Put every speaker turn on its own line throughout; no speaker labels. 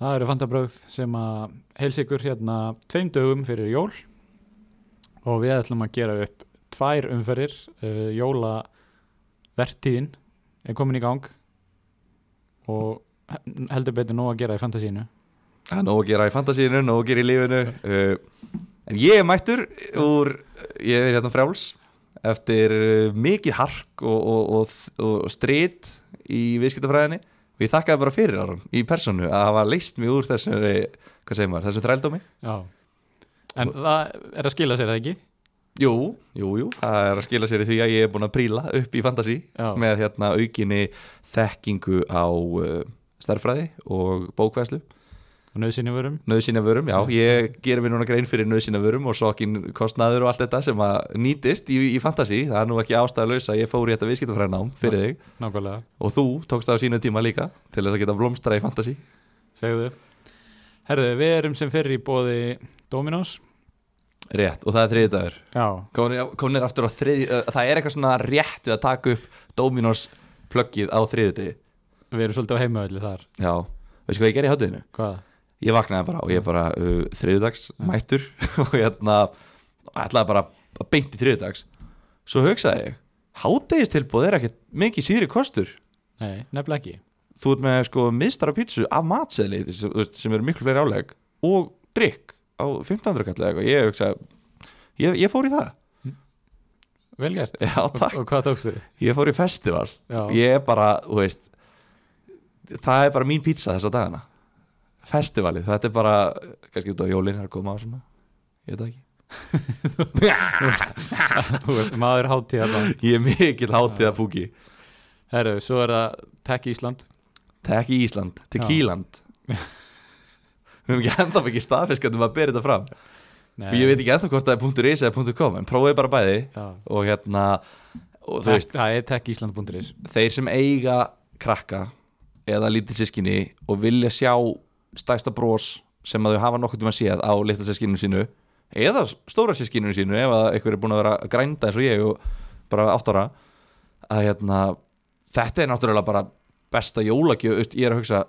örfandabröð sem að heils ykkur hérna tveim dögum fyrir jól og við ætlum að gera upp tvær umferðir uh, jólavertíðin er komin í gang og he- heldur betur nóg að gera í fantasínu
Það er nóg að gera í fantasíinu, nóg að gera í lífinu uh, En ég er mættur úr, ég er hérna frjáls Eftir uh, mikið hark og, og, og, og strít í viðskiptafræðinni Og ég þakkaði bara fyrir árum í personu að hafa leist mig úr þessari, hvað segir maður, þessum þrældómi
Já En það er að skila sér það ekki?
Jú, jú, jú, það er að skila sér í því að ég er búin að príla upp í fantasí
Já.
Með hérna aukinni þekkingu á uh, stærðfræði og bókvæslu
Nauðsynni vörum?
nöðsynjavörum, já, ég gerir mér núna grein fyrir nöðsynjavörum og sokkin kostnaður og allt þetta sem að nýtist í, í fantasy það er nú ekki ástæðalaus að ég fór í þetta viðskiptafræðinám fyrir þig
Nákvæmlega,
og þú tókst það á sínu tíma líka til þess að geta blómstra í fantasy
segðu Herðu, við erum sem fyrir í bóði Dominos
rétt og það er þriði dagur
Já,
komin er aftur á þriði, uh, það er eitthvað svona rétt við að taka upp Dominos pluggið á þriði degi,
við erum svolítið á heimauðli þar
já, veistu hvað ég gerði í hátuðinu?
Hvað?
ég vaknaði bara og ég bara uh, þriðudags mættur og hérna ætlaði bara að beint í þriðudags svo hugsaði ég hátegistilbúð er ekkert mikið síðri kostur
Nei, nefnilega ekki
þú ert með sko mistara pítsu af matseðli þú veist, sem eru miklu fleiri áleg og drikk á 1500 kall eða eitthvað ég hugsaði ég, ég fór í það
Vel gert
Já, takk.
Og, og hvað tókstu?
ég fór í festival
Já.
ég er bara, þú veist það er bara mín pizza þessa dagana festivalið, þetta er bara kannski út á jólinn er að koma á svona ég veit það ekki
Þú ert maður hátíða bara
ég er mikil hátíða púki
Herru, svo er það Tech Ísland
tek í Ísland, til
Já.
Kíland við höfum ekki ennþá ekki staðfiskandum að bera þetta fram
Nei,
og ég veit ekki ennþá hvort það er .is eða .com en prófið bara bæði
Já.
og hérna og þú
Tech-
veist,
Það er techísland.is
þeir sem eiga krakka eða lítið sískinni og vilja sjá stæsta bros sem að þau hafa nokkuð tíma séð á litla sískinu sínu eða stóra sískinu sínu ef að einhver er búin að vera að grænda eins og ég og bara átt ára að hérna, þetta er náttúrulega bara besta jólagjöf, veist, ég er að hugsa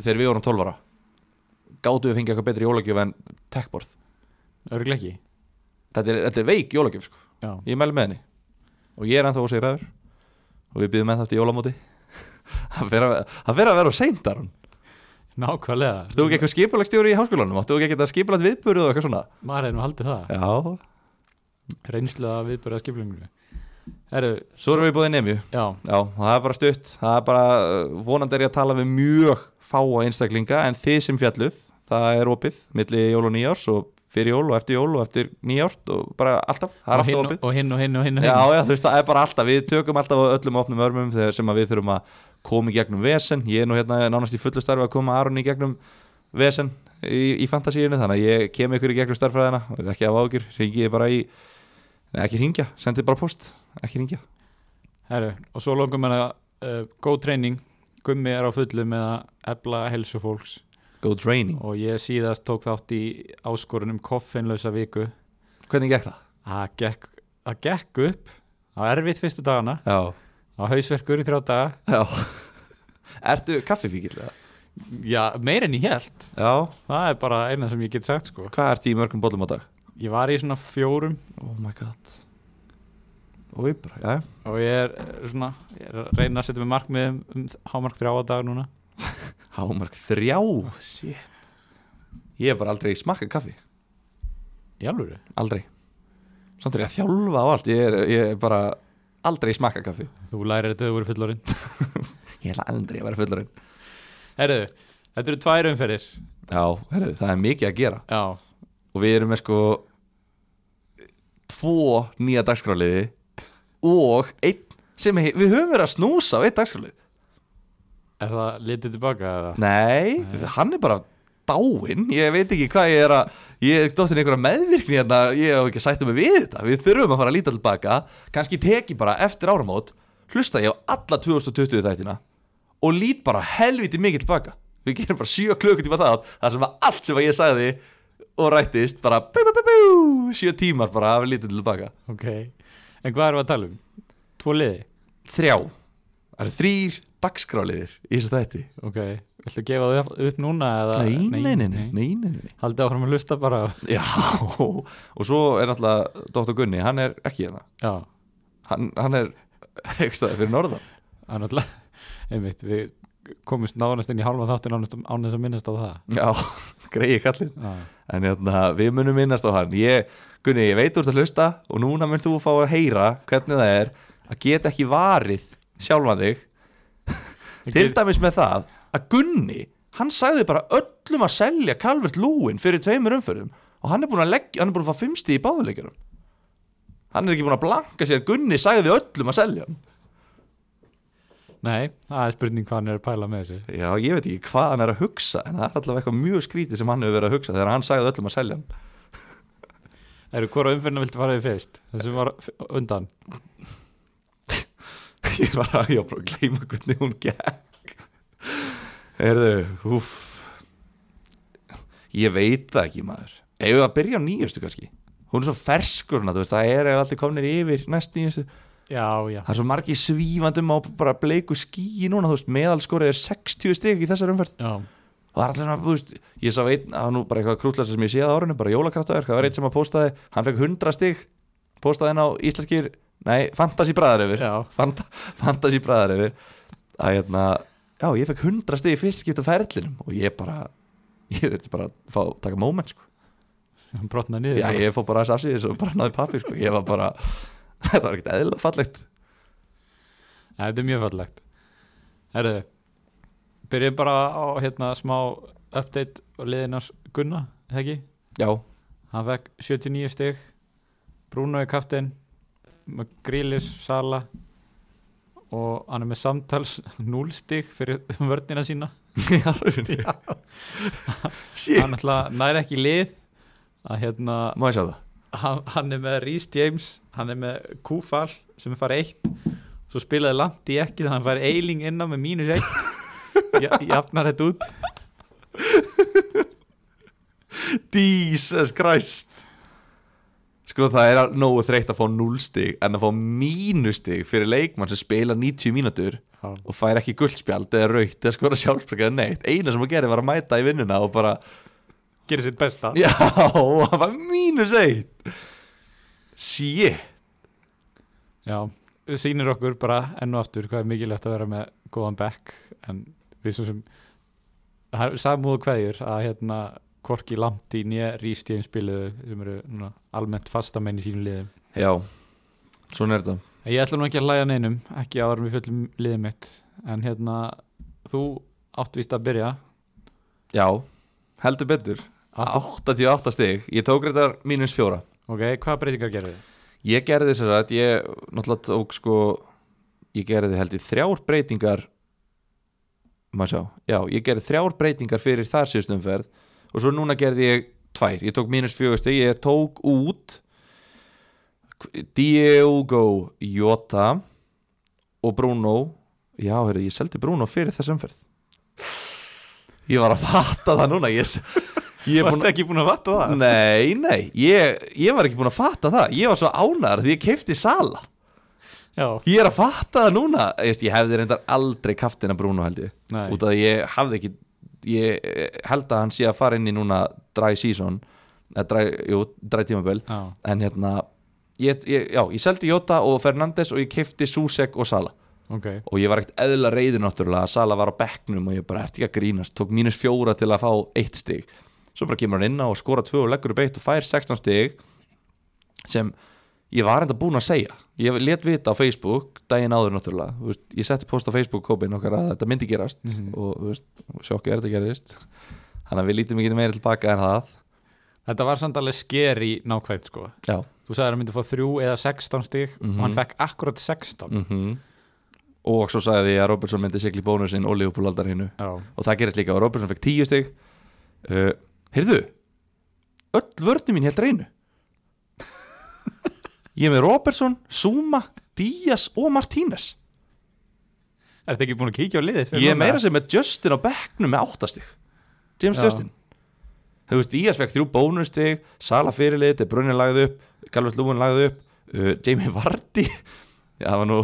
þegar við vorum 12 ára gáttu við fengið eitthvað betri jólagjöf en techborð,
Örglega ekki
þetta er, þetta er veik jólagjöf sko.
Já,
ég mæli með henni og ég er ennþá ósigraður og við býðum ennþá eftir jólamóti það fer að það fer að vera á seintar
nákvæmlega
þú ekki eitthvað skipulagstjóri í háskólanum áttu ekki eitthvað skipulagt viðburðu og eitthvað svona
Maður hefði nú haldið það
já,
Reynslu að viðbörða skiplingunni Herru,
svo erum við búið nefnju
já,
já, það er bara stutt það er bara, uh, vonandi er ég að tala við mjög fáa einstaklinga en þið sem fjalluð það er opið, milli jól og nýjárs og fyrir jól og eftir jól og eftir nýjárt og bara alltaf, það er
og
alltaf
hinn
opið
og- og hinn og hinn og hinn og
Já,
hinn
já, þú veist, það er bara alltaf, við tökum alltaf á öllum opnum örmum þegar sem að við þurfum að koma í gegnum vesen, ég er nú hérna nánast í fullu starfi að koma Aron í gegnum vesen í, í fantasíinu, þannig að ég kem ykkur í gegnum starfræðina, ekki af ágjur ringi ég bara í, nei, ekki ringja sendið bara post, ekki ringja
Herru, og svo longum við að uh, góð treyning, gummi er á fullu með að efla helsu fólks
Go training,
og ég síðast tók þátt í áskorunum koffinlausa viku
hvernig gekk það?
Það gekk, það gekk upp það var erfitt fyrstu dagana
Já,
það var hausverkur í þrjá daga
já Ertu kaffifíkil? eða?
Já, meir en ég held
Já,
það er bara eina sem ég get sagt sko
hvað ertu í mörgum bollum á dag?
Ég var í svona fjórum
Oh my god Og ég bara, já,
og ég er eh, svona ég er að reyna að setja mig markmið um, um hámark þrjá á dag núna
hámark þrjá, Oh, shit Ég hef bara aldrei smakkað kaffi
Í alvöru?
Aldrei Samt er ég að þjálfa á allt Ég er, ég er bara aldrei smakka kaffi
Þú lærir þetta þegar þú voru fullorinn
Ég ætla aldrei að vera fullurinn
Herðu, þetta eru tvær umferðir
Já, herru, það er mikið að gera
Já,
Og við erum með sko Tvo nýja dagskráliði Og einn sem he- Við höfum verið að snúsa á einn dagskrálið
er það litið tilbaka eða?
Nei, hann er bara dáinn Ég veit ekki hvað ég er að Ég er dóttin í einhverja meðvirkni hérna Ég hef ekki sættu mig við þetta Við þurfum að fara að líta tilbaka Kanski teki bara eftir áramót Hlusta ég á alla 2020 þættina Og lít bara helviti mikið tilbaka Við gerum bara 7 klukkutíma það Það sem var allt sem ég sagði Og rættist bara bú, bú, bú, bú, 7 tímar bara að við lítum tilbaka
Ok, en hvað erum við að tala um? Tvo liði?
Þrjá Það eru þrýr dagskráliðir í þessu þætti
Ok, Viltu gefa þau upp- upp núna? Eða?
Nei, nei, nei, nei, nei, nei, nei.
Haldið áfram að hlusta bara
Já, og svo er náttúrulega Dr. Gunni, hann er ekki hérna
Já,
hann, hann er ekstaði fyrir norðan
það er náttúrulega einmitt, við komumst nánast inn í hálfa þáttin nánast án þess að minnast á það
Já, greiði kallinn
Já,
En hérna, við munum minnast á hann ég, Gunni, ég veit úr að hlusta og núna mun þú fá að heyra hvernig það er að geta ekki varið sjálfan þig
Ég
Til
get-
dæmis með það að Gunni, hann sagði bara öllum að selja Calvert Lúin fyrir tveimur umförum og hann er búin að leggja, hann er búin að fá fimmsti í báðuleikjunum Hann er ekki búin að blanka sér Gunni sagði öllum að selja hann
Nei, það er spurning hvað hann er að pæla með þessu
Já, ég veit ekki hvað hann er að hugsa en það er allavega eitthvað mjög skrítið sem hann hefur verið að hugsa þegar hann sagði öllum að selja hann
Eru hvora umferðina viltu fara við fyrst? Þessum var f- undan
Ég var að, ég var bara að gleyma hvernig hún gekk Heyrðu, húf Ég veit það ekki maður Ef við að byrja á nýjustu kannski Hún er svo ferskur hana, þú veist, það er allir komnir yfir næst nýjustu
Já, já,
Það er svo margir svífandum á bara bleiku skíi núna, þú veist, meðalskorið er 60 stig í þessar umferð
já
og það er allir svona, þú veist, ég sá einn það var nú bara eitthvað krútlega sem ég séð á árinu, bara jólakraftaverk það var einn sem að postaði, hann fekk 100 stig postaði hann á íslenskir nei, fantasy bræðar yfir
Já.
Fanta, fantasy bræðar yfir að hérna, já, ég fekk 100 stig í fyrst skipt á ferlinum og ég bara ég þurfti bara að fá, taka moment sko.
Hann brotnaði niður
já, ég fór bara að sassi þessu og bara náði pappi sko. ég var bara, þetta var ekkert eðla fallegt
Nei, Þetta er mjög fallegt Herðu, byrjum bara á hérna smá update og liðinars Gunna, eða ekki?
já,
Hann fekk 79 stig Bruno er kaftin með Grílis, Sala og hann er með samtals 0 stig fyrir vörnina sína
í alvörunni shit,
hann ætla nær ekki í lið að hérna,
má ég sjá það
hann, hann er með Rhys James, hann er með Kúfal sem er farið eitt svo spilaði langt í ekki þannig að hann farið eiling inná með mínus eitt Ja- jafnar þetta út
Jesus Christ Sko það er al- nógu þreytt að fá 0 stig en að fá mínustig fyrir leikmann sem spila 90 mínútur og fær ekki guldspjald eða raukt eða skora sjálfsbrekka eða neitt eina sem að gera var að mæta í vinnuna og bara
gerir sitt besta
já, það var mínus eitt Shit
Já, sýnir okkur bara enn og aftur hvað er mikilvægt að vera með góðan bekk en við svo sem það er samúðu kveðjur að hérna Korki Lamti nýja Rístíðin spiluðu sem eru núna, almennt fastamenn í sínum liðum.
Já, svona er þetta
En Ég ætla nú ekki að læja neinum, ekki áður en við fjöllum liðið mitt en hérna þú átt víst að byrja
Já, heldur betur 88 stig, ég tók þetta mínus fjóra
Ok, hvaða breytingar gerðu þið?
Ég gerði þess að ég náttúrulega tók sko ég gerði held ég þrjár breytingar maður sjá, já, ég gerði þrjár breytingar fyrir þar síðustumferð og svo núna gerði ég tvær, ég tók mínus fjögustu, ég tók út Diego Jota og Bruno já, heyrðu, ég seldi Bruno fyrir þess umferð ég var að fatta það núna ég, ég er búinn-
Varst ekki búin að vatta það?
Nei, nei, ég, ég var ekki búin að fatta það Ég var svo ánæður því ég keifti sala
Já,
Ég er að fatta það núna Ég, ég hefði reyndar aldrei kaftina Bruno held ég
Nei.
Út af því ég hafði ekki Ég eh, held að hann sé að fara inn í núna Dry season eða dry, Jú, dry tímabil
Já.
En hérna ég, ég, Já, ég seldi Jota og Fernandes og ég keifti Susek og Sala
ok
og ég var ekkert eðla reyði náttúrulega að Sala var á bekknum og ég bara ert ekki að grínast tók mínus fjóra til að fá eitt stig svo bara kemur hann inn á og skora tvö og leggur upp eitt og fær 16 stig sem ég var enda búin að segja ég let vita á Facebook daginn áður náttúrulega Þú veist, ég setti post á Facebook kópin okkar að þetta myndi gerast og þú veist, sjokki er þetta gerist þannig að við lítum ekki meira tilbaka en það
Þetta var samt alveg skeri nákvæmt sko
já,
Þú sagði að hann myndi fá þrjú eða 16 stig og hann fekk akkurat 16
Mhm. mm og svo sagði ég að Robertson myndi sigli bónusinn og Leopold aldar hinnu
Já,
og það gerist líka og Robertson fekk 10 stig uh, heyrðu öll vörnum mín held reynu ég er með Robertson, Zuma Díaz og Martínez
ertu ekki búin að kíkja á liðið?
ég er meira sem með Justin á bekknum með 8 stig James
Já.
Justin þú veist, Díaz fekk þrjú bónustig Sala fyrirlið, De Bruyne lagði upp Galvert Lúin lagði upp uh, Jamie Vardy Já, það var nú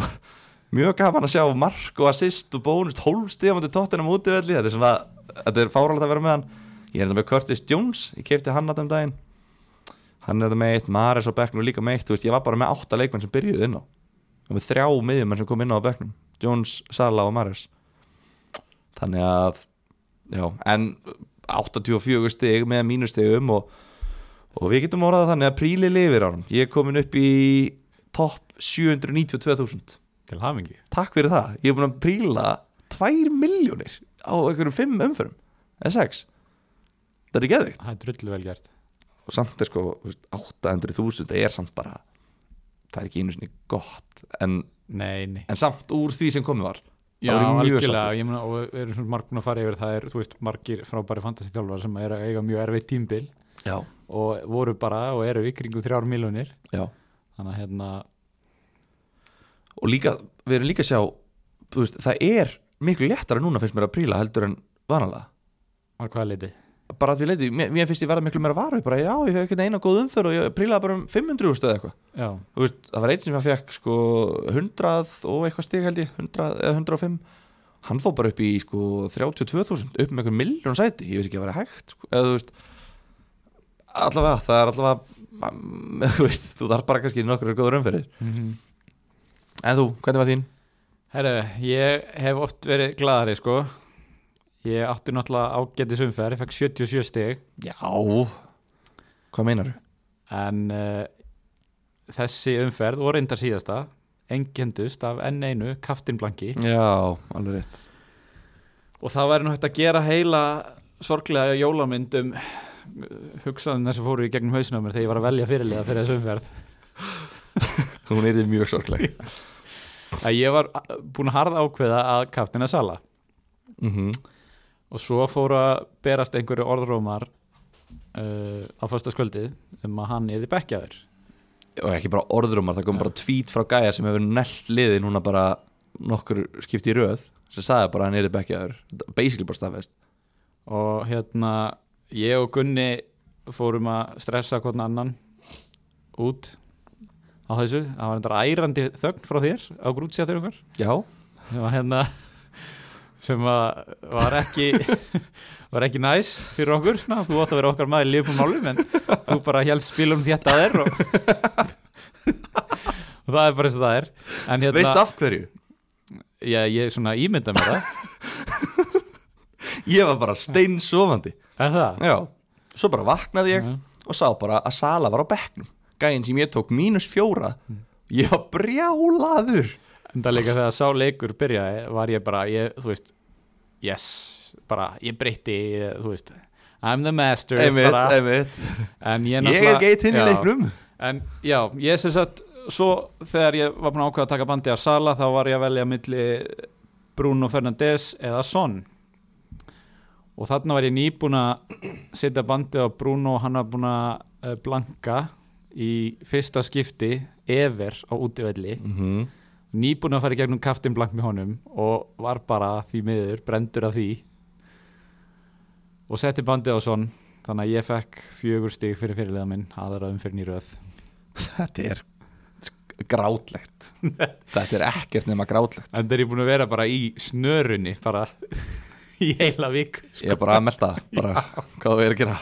mjög gaman að sjá mark og assist og bónust hólfstig á mútið tóttina mútivelli þetta er svona þetta er fáralegt að vera með hann ég er þetta með Curtis Jones, ég kefti hann að um daginn hann er þetta með eitt, Maris á bekknum er líka með eitt, þú veist, ég var bara með átta leikmenn sem byrjuðu inn á og með þrjá miðjumenn sem kom inn á á bekknum Jones, Sala og Maris þannig að já, en 84 stig með mínustigum og, og við getum orðað þannig að príli lifir árum ég er komin upp í topp 792.000
til hafingi
takk fyrir það, ég er búin að príla 2 miljónir á einhverjum 5 umförum eða 6 þetta er geðvikt
það er drullu vel gert
og samt er sko þú veist, 800.000 það er samt bara það er ekki einu sinni gott en,
nei, nei
en samt úr því sem komið var
Já,
Það voru mjög
algjörlega,
sáttir.
ég meina, og við erum svona marg búin að fara yfir það er, þú veist, margir frábæri fantasítjálfar sem er að eiga mjög erfið tímbil
já,
og voru bara og eru í kringum þrjár miljonir
já
þannig að hérna,
og líka, við erum líka að sjá þú veist, það er miklu léttara núna finnst mér að príla heldur en vanalega
að hvaða leiti
bara að því leiti, mér, mér finnst ég verða miklu meira varu bara já, ég hef ekki eina góð umför og ég prílaði bara um 500 úrstu eða eitthvað
Já,
Þú veist, það var einn sem ég fekk sko 100 og eitthvað stig held ég 100 eða 105 hann fór bara upp í sko 32.000 upp með einhver miljón sæti, ég veist ekki að vera hægt sko, eða þú veist allavega, það er allavega mm, þú veist, þú þarf bara kannski nokkur góður umferðir
mm
en þú, hvernig var þín?
herru, ég hef oft verið gladari, sko ég átti náttúrulega ágætis umferð ég fekk 77 stig
Já Hvað meinar þú?
en uh, þessi umferð og reyndar síðasta engendust af enn einu kaftinblanki
Já, alveg rétt
og það væri nú hægt að gera heila sorglega jólamynd um hugsaðin sem fóru í gegnum hausinu á mér þegar ég var að velja fyrirliða fyrir þessu umferð
Hún er því mjög sorgleg
að ég var a- búinn að harða ákveða að kaftina sala
mm -hmm.
og svo fóru að berast einhverju orðrómar uh, á föstaskvöldið um að hann er því bekkjaður
Og ekki bara orðrumar, það kom bara tvít frá gæja sem hefur nellt liði núna bara nokkur skipti í röð sem sagði bara að hann er þið bekkjaður basically bara staðfest
og hérna ég og Gunni fórum að stressa hvernig annan út á þessu, það var þetta ærandi þögn frá þér á grútsjátur okkar
Já
sem var hérna sem að var ekki var ekki næs fyrir okkur svona. þú átt að vera okkar maður í liðbúmálum en þú bara helst spilum þetta að þér og, og það er bara eins og það er en hérna,
Veist af hverju?
ég, ég svona ímynda mér það
Ég var bara steinsofandi Mhm.
er það?
Já Svo bara vaknaði ég
Já.
og sá bara að Sala var á bekknum Gæinn sem ég tók mínus fjóra Ég var brjálaður
en það líka þegar sá leikur byrjaði var ég bara, ég, þú veist yes, bara, ég breytti ég, þú veist, I'm the master
Einmitt,
bara,
einmitt
en ég,
Ég er
náttúrulega-
geitinn í
Já.
leiknum
En já, ég sem sagt svo þegar ég var búin að ákveða að taka bandi af Sala þá var ég að velja milli Bruno Fernandes eða Son og þarna var ég nýbúin að setja bandið á Bruno og hann var búin að eh, blanka í fyrsta skipti ever á útivelli
mm
nýbúin að fara í gegnum kaftin blank með honum og var bara því miður, brendur af því og setti bandið á Son þannig að ég fekk fjögur stig fyrir fyrirliða minn aðra umfyrir nýröð
Þetta er sk- grátlegt Þetta er ekkert nema grátlegt
En það er ég búin að vera bara í snörunni bara í heila vik
Ég er bara að melta bara, hvað þú er að gera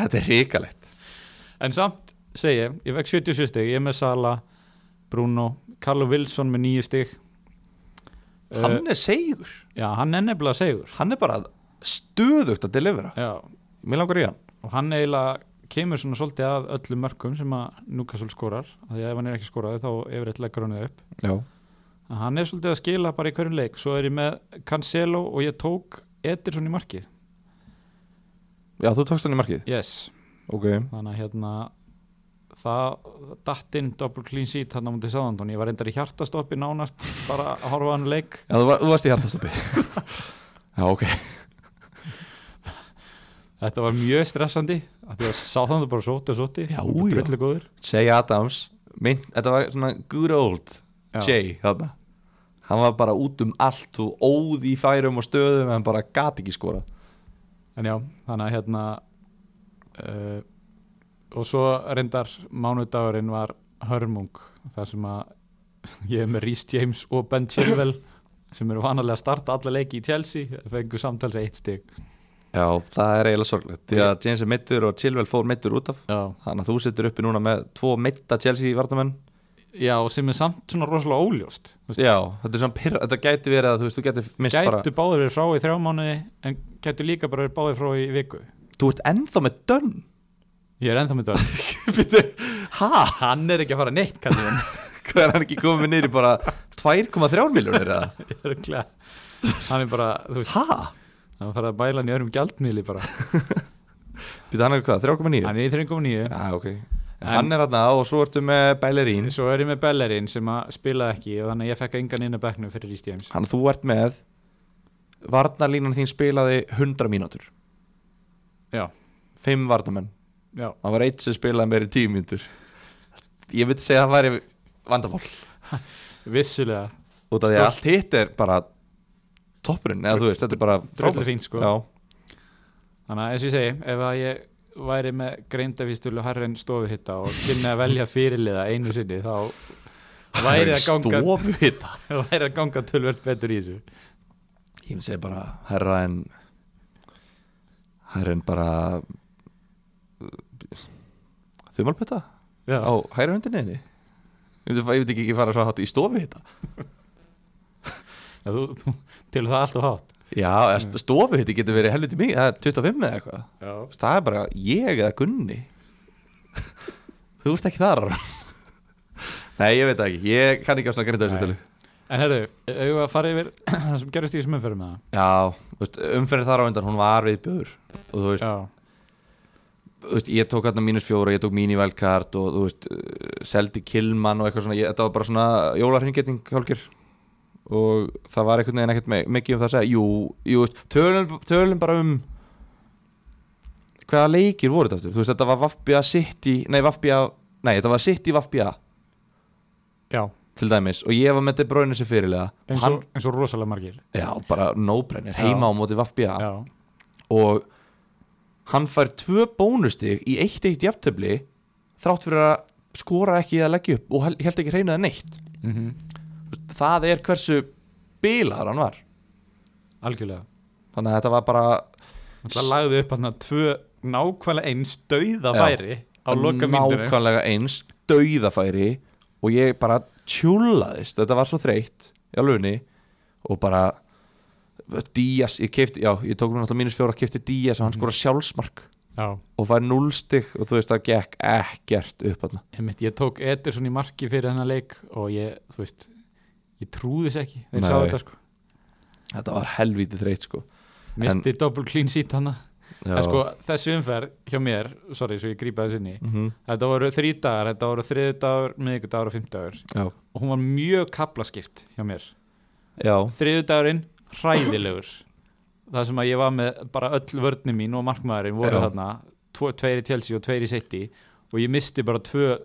Þetta er hrikalegt
En samt segi ég, ég fekk 77 stig ég er með Sala, Bruno Carlo Wilson með nýju stig Eh,
Hann er segur,
Já, hann er nefnilega segur
hann er bara stuðugt að delivera
Já,
Mér langar í hann
og hann eiginlega kemur svona svolítið að öllum mörkum sem að Newcastle skorar, af því að ef hann er ekki skoraði þá yfirleitt leggur hann það upp
Já,
En Hann er svolítið að skila bara í hverjum leik svo er ég með Cancelo og ég tók Ederson í markið
Já þú tókst hann í markið
Yes,
okay.
þannig að hérna það datt inn double clean sheet hann á mútið sáðandun, ég var reyndar í hjartastoppi nánast bara að horfa á hann leik
Já, þú, var, þú varst í hjartastopi Já, ok
þetta var mjög stressandi af því að sáðandur bara sóti og sóti
Já,
og
já.
drullu góður
Jay Adams, mynd, þetta var svona good old
Já.
Jay þarna Hann var bara út um allt og óð í færum og stöðum en bara gat ekki skora
en já, þannig að hérna uh, og svo reyndar mánudagurinn var hörmung þar sem að ég er með Rhys James og Ben Chilwell sem eru vanalega að starta alla leiki í Chelsea fengur samtals eitt stig
Já, það er eiginlega sorglegt Því að James er meittur og Chilwell fór meittur út af
já.
Þannig að þú setur uppi núna með tvo meitta Chelsea vartamenn
já, sem er samt svona rosalega óljóst Þú veist,
Já, þetta er svona pyrra, þetta gæti verið að þú veist, þú gæti mist
gætu báðir verið frá í þrjá mánuði en gætu líka bara verið báðir frá í viku
bara Þú ert ennþá með dönn
ég er ennþá með dörr
Býttu, ha?
hann er ekki að fara neitt kallið hann
Hvað er hann ekki komið niður í bara 2,3 miljónir eða?
Örugglega. hann er bara, þú veist,
Ha?
hann farið að bæla hann í öðrum gjaldmiðli bara
Býttu, hann er hvað, 3,9?
hann er í 3.9
Já, ok en Hann er hann og svo ertu með Bellerín
svo er ég með Bellerin sem að spilaði ekki og þannig að ég fekk engan inn að bekknum fyrir Rhys James
Hann þú ert með Varnarlínan þín spilaði 100 mínútur
Já.
5 varnamenn
já,
Það var eitt sem spilaði meira í 10 mínútur Ég myndi segja að það væri vandamál
vissulega
Út af því að
Stórt.
allt hitt er bara toppurinn Eða þú veist, þetta er bara
dröldu
frábært.
fínt sko
Já,
þannig að eins og ég segi, ef að ég væri með greindavístölu harren stofuhitta og kynni að velja fyrirliða einu sinni þá væri að ganga
Stofuhita
væri að ganga tölvöld betur í þessu
Ég myndi segja bara herra en Herra en bara uh, Þumalpöta
já,
á hæra hundinni þinni ég myndi, ég myndi ekki fara svo hátt í stofu hitta
þú, þú, til það allt og hátt
já, mm. stofu hitti getur verið helviti mikið það er 25 eða eitthvað
já,
Þú veist, það er bara ég eða Gunni þú ert ekki þar nei, ég veit það ekki ég kann ekki á svona grinda
Nei.
þessu tölu
en herru, auðvitað að fara yfir það sem gerist í þessum umferðum með
já, þú veist, umferðin þar á undan hún var viðbjöður og þú veist,
það já,
þú veist, ég tók hérna mínus fjóra ég tók mín í velkart og þú veist eh, seldi killmann og eitthvað svona ég, þetta var bara svona jólarhingetning hálkir og það var einhvern veginn ekkert me- mikið um það að segja, jú, jú veist, tölum, tölum bara um hvaða leikir voru þetta aftur þú veist, þetta var Vafbja City nei, Vafbja, nei, þetta var City Vafbja
já
til dæmis og ég var með þetta bráinu sem fyrirlega
eins
Hann-
og, eins og rosalega margir
já, bara no-brainer,
Já.
heima á móti Vafbja
já,
og hann fær tvö bónustig í eitt eitt jafntöfli þrátt fyrir að skora ekki að leggja upp og hel- held ekki reynaði neitt
mm
það er hversu bilar hann var
algjörlega
þannig að þetta var bara
Það lagði upp að tvö nákvæmlega eins dauða
Já.
væri á loka myndinu
nákvæmlega eins dauðafæri og ég bara tjúlaðist þetta var svo þreytt í alvegni og bara Díaz, ég kefti, já, ég tók nú náttúrulega mínus fjóra kefti Díaz og hann skora sjálfsmark
Já,
og fær núlstig og þú veist það gekk ekkert upp hann
einmitt, ég tók Ederson í marki fyrir hennar leik og ég, þú veist ég trúðis ekki, þeir
Nei.
sá þetta sko
þetta var helvítið þreytt sko
misti en, double clean sheet hana
Já.
en sko, þessi umferð hjá mér sorry, svo ég grípa þessu inn í
Mhm.
þetta voru þrý dagar, þetta voru þriði dagur miðvíku dagur og fimmtagur
Já.
og hún var mjög kaplaskipt hjá mér
Já,
þriði dagurinn, hræðilegur það sem að ég var með bara öll vörnum mín og markmaðurinn voru
Já.
þarna tvo, tveir í Chelsea og tveir í City og ég misti bara tvö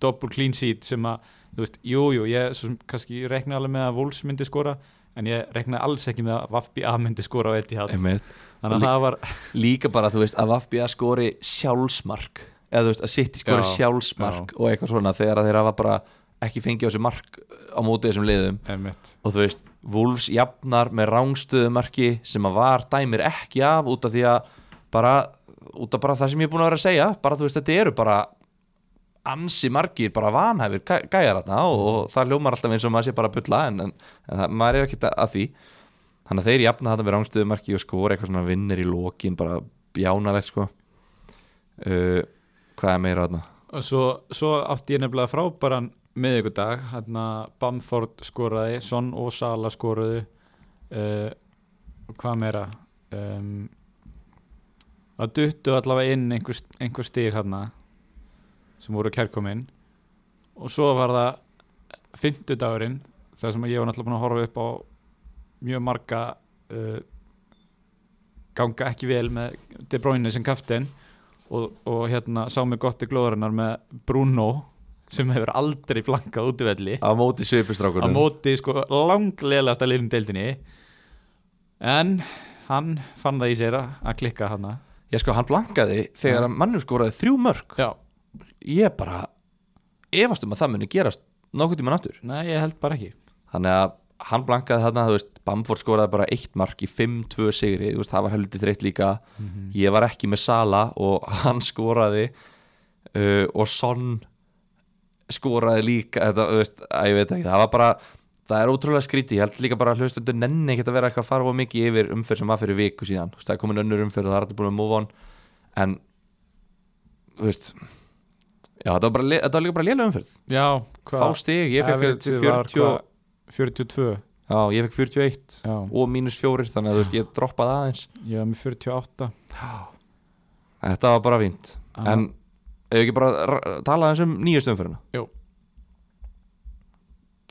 double clean sheet sem að, þú veist, jú, jú ég, svo sem kannski ég reiknaði alveg með að Wolves myndi skora en ég reiknaði alls ekki með að Vafbi A myndi skora á Etihad
einmitt
þannig að það var,
Líka bara, þú veist, að Vafbja skori sjálfsmark eða þú veist, að City skori
Já,
sjálfsmark og eitthvað svona þegar að þeir hafa bara ekki fengið á sig mark á móti þessum liðum
einmitt,
og þú veist, Wolves jafnar með rángstöðumarki sem að var dæmir ekki af út af því að bara, út af bara það sem ég er búin að vera að segja bara þú veist, þetta eru bara ansi margir, bara vanhæfir gæ- gæjar þarna og, og það ljómar alltaf eins og maður sé bara að bulla en, en, en það, maður er ekki að því þannig að þeir jafna þetta með rángstöðumarki og skora eitthvað svona vinnir í lokin bara bjánalegt sko uh, hvað er meira þarna?
og svo, svo átti ég nefnilega frábæran miðvikudag, hann að Bamford skoraði, Son og Sala skoraði uh, og hvað meira um, að duttu allavega inn einhver, einhver stíg hann sem voru kærkominn og svo var það fimmtudagurinn þar sem ég var náttúrulega búin að horfa upp á mjög marga uh, ganga ekki vel með De Bruyne sem kaftin og, og hérna sá mig gott í glóðurinnar með Bruno sem hefur aldrei blankað útvelli
á móti
á
svipustrákunum
móti sko langlegasta liðum deildinni en hann fann það í sér að að klikka hana
ég sko, hann blankaði þegar að mannum skoraði þrjú mörg
já,
ég bara efast um að það muni gerast nokkuð tíma náttúr
nei ég held bara ekki
þannig að hann blankaði þarna, þú veist, Bamford skoraði bara eitt mark í 5-2 sigri, þú veist, það var heldur þreytt líka,
Mhm.
ég var ekki með Sala og hann skoraði uh, og Son skoraði líka þetta, þú veist, að ég veit ekki, það var bara það er ótrúlega skrítið, ég held líka bara að hlustundur nenni ekkert að vera eitthvað að fara of mikið yfir umferð sem var fyrir viku síðan, þú veist, það er komin önnur umferð og það er alltaf búin að move on en, þú veist já, þetta var, bara, le- þetta var líka bara lélega umferð
já,
fá stig, ég fekk
Average var
40
hvað? 42
já, ég fekk 41
já,
og mínus 4, þannig að þú veist, ég droppaði aðeins
ég var með 48
þetta var bara fínt, en hefur ekki bara r- talað aðeins um nýjastu umferðina
Jú.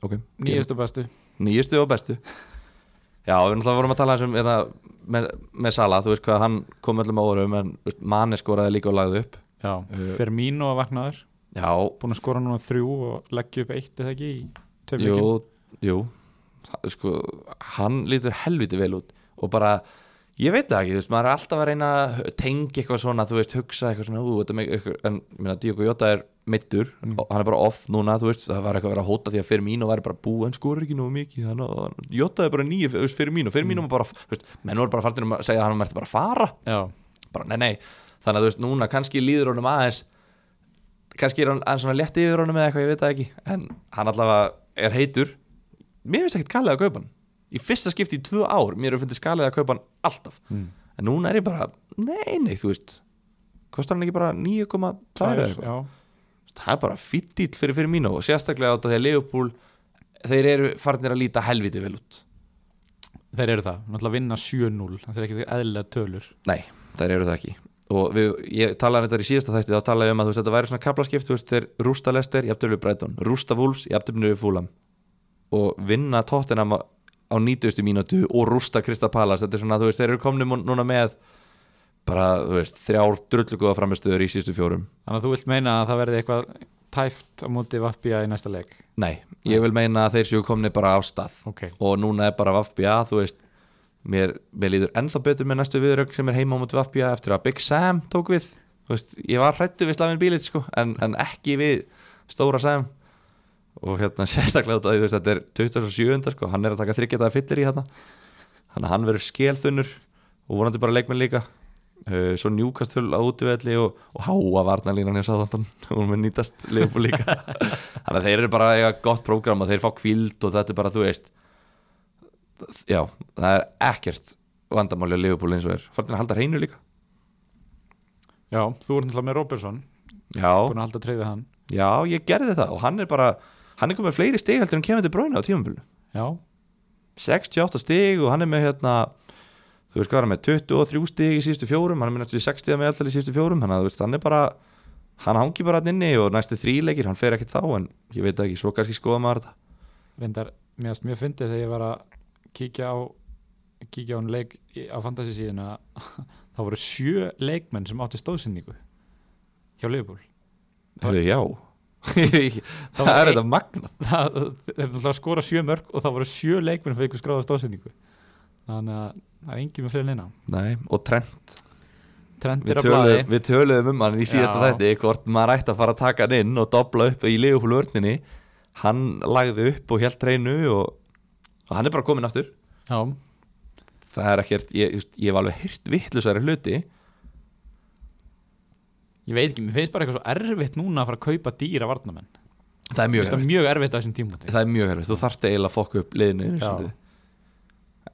ok,
nýjastu bestu
nýjastu og bestu já, við náttúrulega vorum að tala aðeins um eða, með, með Sala, þú veist hvað hann kom öllum á orðum, en þú veist, manni skoraði líka og lagði upp
já,
Uh,
Fermino að vaknaður
já,
búin að skora núna þrjú og leggja upp eitt eða ekki í tveim
jú,
leikjum.
jú Það- sko, hann lítur helviti vel út og bara, ég veit það ekki þú veist, maður er alltaf að reyna að tengja eitthvað svona, þú veist, hugsa eitthvað svona ú, þetta er með, eitthvað, en, ég meina, Diogo Jota er mittur,
Mm.
og hann er bara off núna þú veist, það var eitthvað að vera að hóta því að fyrir mín og væri bara bú, hann skorur ekki nógu mikið hann, hann, Jota er bara nýju fyrir mín og fyrir mín og bara, þú veist, menn voru bara farnir um að segja að hann mætti bara að fara
já,
bara nei nei þannig að þú veist núna kannski líður honum aðeins kannski er hann aðeins svona létt yfir honum eða eitthvað ég veit það ekki en hann allavega er heitur mér finnst ekkert kalið að kaupa hann í fyrsta skipti í tvö ár mér hefur fundist kalið að kaupa hann alltaf
Mm.
en núna er ég bara nei nei þú veist kostar hann ekki bara 9,2 eða
tvær
eitthvað
já,
það er bara fýtt dýl fyrir fyrir mínu og sérstaklega á þetta þegar Leopold þeir eru farnir að líta helviti vel út
þeir eru það, náttúrulega vinna 7-0 það er ekki eðlilega tölur
Nei, þær eru það ekki og við, ég talaði um þetta í síðasta þætti þá talaði ég um að þú veist, þetta væri svona kaplaskipt þú veist, þeir rústa Lester, jafntöflu við Brighton rústa Wolves, jafntöflu við Fulham og vinna tóttinam á 90. mínútu og rústa Krista Palace þetta er svona, þú veist, þeir eru komni mú- núna með bara, þú veist, þrjár drullugóða framistöður í síðustu fjórum
þannig að þú vilt meina að það verði eitthvað tæft á móti Vapja í næsta leik
Nei, ég vil meina að þeir séu komni bara á stað
ok,
og núna er bara Vafbja, þú veist mér, mér líður ennþá betur með næstu viðrögg sem er heima á mútu Vafbja eftir að Big Sam tók við þú veist, ég var hrættu við Slavin Bílit sko, en, en ekki við Stóra Sam og hérna sérstaklega út af því, þú veist, þetta er 27. sko, hann er að taka þryggjataða fyllir í hérna þannig að hann verður skelþunnur og vonandi bara leikmenn líka uh, svo njúkastul á útivelli og, og háa varnalínan hjá sáðandan hún mun nýtast leifbúl líka þannig að þeir eru bara að eiga gott prógram og þeir fá kvíld og þetta er bara, þú veist já, það er ekkert vandamáli að Liverpool eins og er Fartin að halda hreinu líka
já, þú ert náttúrulega með Robertson
já,
búin að halda treyðið hann
já, ég gerði það og hann er bara, hann er komið fleiri stig heldur en kemur til bráinu á tímabölu
já,
68 stig og hann er með hérna þú veist hvað hann er með 23 stig í síðustu fjórum, hann er með næstu 60 með alltaf í síðustu fjórum, þannig að þú veist, hann er bara hann hangi bara hann inni og næstu þríleikir hann fer ekkert þá en ég veit það ekki, svo kannski skoða maður þetta
reyndar, mér finnst mjög fyndið þegar ég var að kíkja á kíkja á hann leik í- á fantasy síðuna þá voru sjö leikmenn sem átti stóðsynningu hjá Liverpool
Heru, já,
Það
það
var
er
ein-
þetta magnað
það, þeir náttúrulega skora sjö mörg og þá voru sjö leikmenn fyrir ykkur skráða stóðsynningu þannig að það er engin með fleiri neina
Nei, og trend
Trent
Við,
er að
tölu,
blaði
við töluðum um hann í síðasta
Já.
þætti hvort maður ætti að fara að taka hann inn og dobla upp í liðupúlvörninni hann lagði upp og held reynu og, og hann er bara komin aftur
já,
það er ekkert, ég, just, ég hef alveg hýrt vittlusæri hluti
ég veit ekki, mér finnst bara eitthvað svo erfitt núna að fara að kaupa dýra varnamenn Mér
það er mjög
finnst það
herfið,
mjög erfitt á þessum tímúti
það er mjög herfið þú þarft eiginlega að fokka upp liðinu einu
Já.
sinni.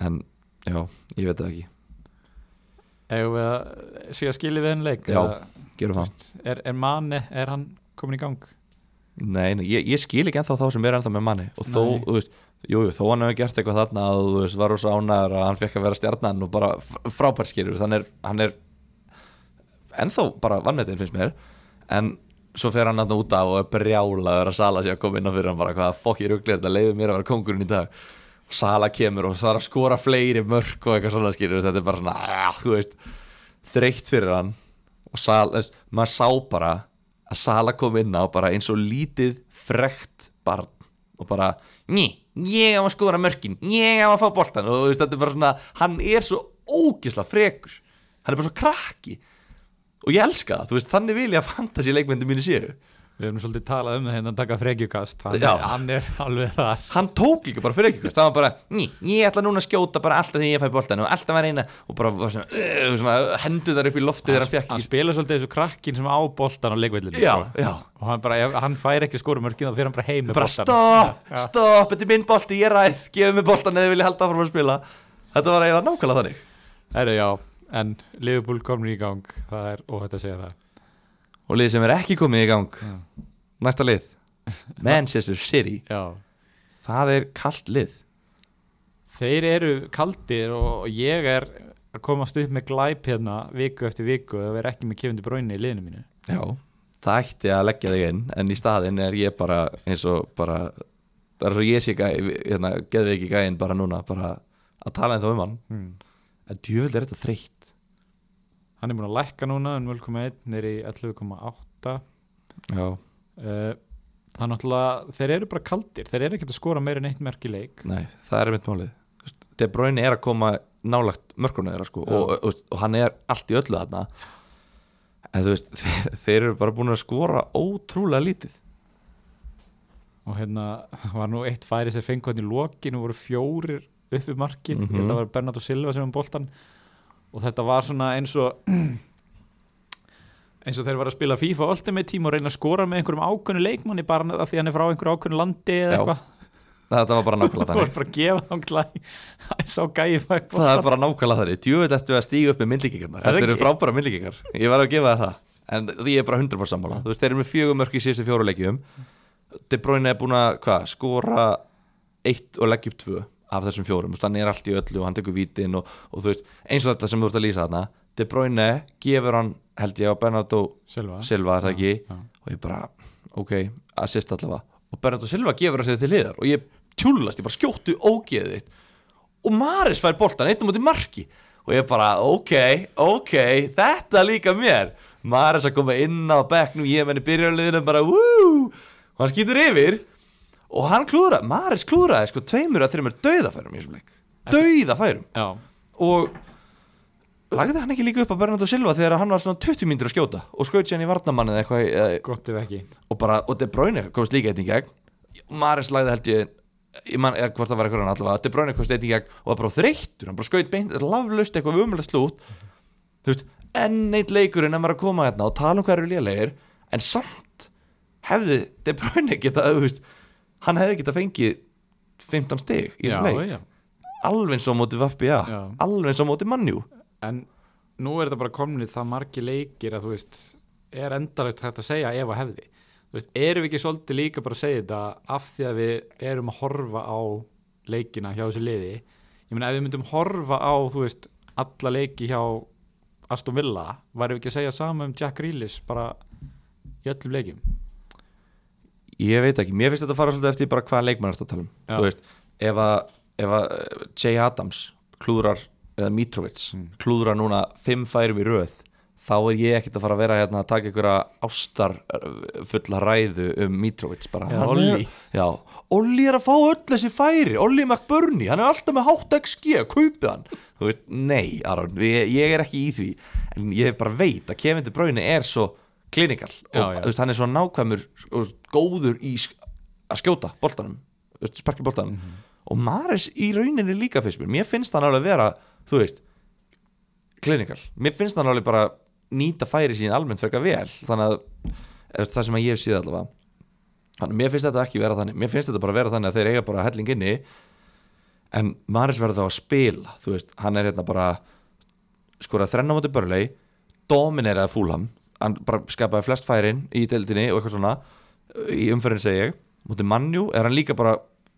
en já, ég veit það ekki
Ef við að sé að skilja við henn leik
Já.
eða-
gerum það,
Veist, er, er manni, er hann komin í gang
nei, nei ég, ég skil ekki ennþá þá sem er ennþá með manni og þó,
Nei.
þú veist, jú, jú, þó hann hefur gert eitthvað þarna og þú veist, var úr sánar að hann fekk að vera stjarnan og bara frábærskirur hann er, hann er ennþá bara vannmetinn finnst mér en svo fer hann aðna út af og er brjálaður að Sala sé að koma inn á fyrir hann bara hvaða fokk ég rugglir þetta leiði mér að vera kongurinn í dag og Sala kemur og það er að skora fleiri mörk og eitthvað svona skilur þetta er bara svona ah, þú veist, þreytt fyrir hann og Sala, þú veist, maður sá bara að Sala kom inn á bara eins og lítið frekt barn og bara, ný, ég á að skora mörkin ég á að fá boltan og þú veist, þetta er bara svona, hann er svo ógisla frekur, hann er bara svo krakki og ég elska það, þú veist, þannig vil ég að fantasy leikmyndi mínu séu
Við erum svolítið talað um það hérna að taka frekjukast hann,
Já.
hann er alveg þar
hann tók líka bara fyrir ekki það var bara, ný, ég ætla núna að skjóta bara alltaf því ég fæ boltan og alltaf var eina og bara var svona, uh, svona hendu þar upp í loftið þegar hann fekk
Hann
ekki
spila svolítið þessu krakkin sem á boltan á leikvillinu
já, já,
og hann, bara, ef hann fær ekki skorumörkin þá fyrir hann bara heim með
bara
boltann.
stopp,
Já.
stopp þetta er minn bolti, ég ræð, gefið mig boltan eða vilja halda áfram að spila þetta var eiginlega nákvæmlega þannig
Herru, já, en Liverpool komur í gang það er óhætt að segja það
og lið sem er ekki komið í gang
Já.
næsta lið, Manchester City
Já,
það er kallt lið
Þeir eru kaldir og ég er að komast upp með glæp hérna viku eftir viku og það verð ekki með kefundi bráinu í liðinu mínu.
já, það ætti að leggja þig inn en í staðinn er ég bara eins og bara það er svo ég sé gæ, hérna, geði ekki gæinn bara núna bara að tala en þá um hann
Hmm.
en djúvill er þetta þreytt
Hann er búin að lækka núna um 0,1 neyri 11,8.
já,
Uh, það er náttúrulega, þeir eru bara kaldir, þeir eru ekkert að skora meira en eitt merk í leik.
nei, það er mitt málið Þú veist, De Bruyne er að koma nálagt mörkurna þeirra sko
Já.
og, og, og, og hann er allt í öllu þarna en þú veist, þeir, þeir eru bara búin að skora ótrúlega lítið
Og hérna það var nú eitt færi sem fengu hann í lokin og voru fjórir upp í markið,
Mhm.
ég held að það var Bernardo Silva sem um boltan og þetta var svona eins og eins og þeir var að spila FIFA Ultimate Team og reyna að skora með einhverjum ákveðnu leikmanni bara að því hann er frá einhverju ákveðnu landi eða
Já,
eitthvað
þetta var bara nákvæmlega
Það var
þannig
bara að gefa þá glæ Sá gæði fæ
það er bara nákvæmlega þannig, djúvill ertu að stíga upp með myndlíkingarnar,
Er það
þetta eru
ekki?
frábæra myndlíkingar ég var að gefa það það, en því ég er bara 100%
Mm.
sammála, þú veist, þeir eru með fjögur mörk í síðustu fjóru leikjum De Bruyne er búin að, hvað, skora eitt og leggja upp tvö af þessum fjórum, þú veist, hann er allt í öllu og hann tekur vítin og, og þú veist, eins og þetta sem þú ert að lýsa þarna, De Bruyne gefur hann, held ég, á Bernardo
Silva
Silva, er það ekki,
Já.
og ég bara, ok, assist allavega og Bernardo Silva gefur að segja til hliðar og ég tjúlast, ég bara skjóttu ógeðið þitt og Maris fær boltan eitt á móti marki og ég bara, ok, ok þetta líka mér Maris að koma inn á bekknum, ég menni byrjarliðinu bara, wú og hann skýtur yfir og hann klúðra, Maris klúðraði sko tveimur að þreimur dauðafærum í þessum leik, dauðafærum
Já,
og lagði hann ekki líka upp að Bernardo Silva þegar hann var svona 20 mínútur að skjóta og skauti hann í varnamann eða eitthvað eða-
gott ef ekki
og bara, og De Bruyne komst líka einn í gegn Maris lagði held ég ég man, eða hvort það var eitthvað hann allavega De Bruyne komst einn í gegn og var bara þreyttur hann bara skaut beint, laflaust eitthvað umlega slút þú veist, enn eitt leikurinn að maður að koma hérna og tala um hvað eru lélegir en samt hefði De Bruyne geta, þú veist hann hefði geta fengið 15 stig í
já,
þessum leik,
já.
alveg eins og á móti Vapja,
Já.
alveg eins og á móti Mannjú
En nú er þetta bara komnið það margi leikir að þú veist er endalegt hægt að segja ef að hefði Þú veist, erum við ekki svolítið líka bara að segja þetta af því að við erum að horfa á leikina hjá þessu liði Ég meina ef við myndum horfa á þú veist alla leiki hjá Aston Villa værum við ekki að segja sama um Jack Grealish bara í öllum leikim
Ég veit ekki, mér finnst þetta að fara svolítið eftir bara hvaða leikmann er þetta að tala um
Já.
Þú veist, ef að, ef að eh, Jay Adams klúðrar eða Mitrovic klúðrar núna fimm færum í röð þá er ég ekkert að fara að vera hérna að taka einhverja ástar eh, fulla ræðu um Mitrovic bara
Eða
Hann
Ollie.
er, Já, Olli er að fá öll þessi færi Olli McBurney, hann er alltaf með hátt XG, kaupið hann Þú veist, nei, Aron, ég, ég er ekki í því en ég bara veit að Kevin De Bruyne er svo klinikal
Já,
og
já.
þú veist, hann er svo nákvæmur og góður í sk að skjóta boltanum, þú veist, sparki boltanum
Mhm.
og Maris í rauninni líka fyrst mér, mér finnst hann alveg vera, þú veist klinikal, mér finnst hann alveg bara nýta færi sín almennt frekar vel þannig að eða það sem að ég hef séð allavega þannig að mér finnst þetta ekki vera þannig mér finnst þetta bara vera þannig að þeir eiga bara helling inni en Maris verður þá að spila þú veist, hann er hérna bara skoraði þrenna á móti Börlei domineraði Fúlham hann bara skapaði flest færin í deildinni og eitthvað svona í umferðin segi ég móti Mannjú er hann líka bara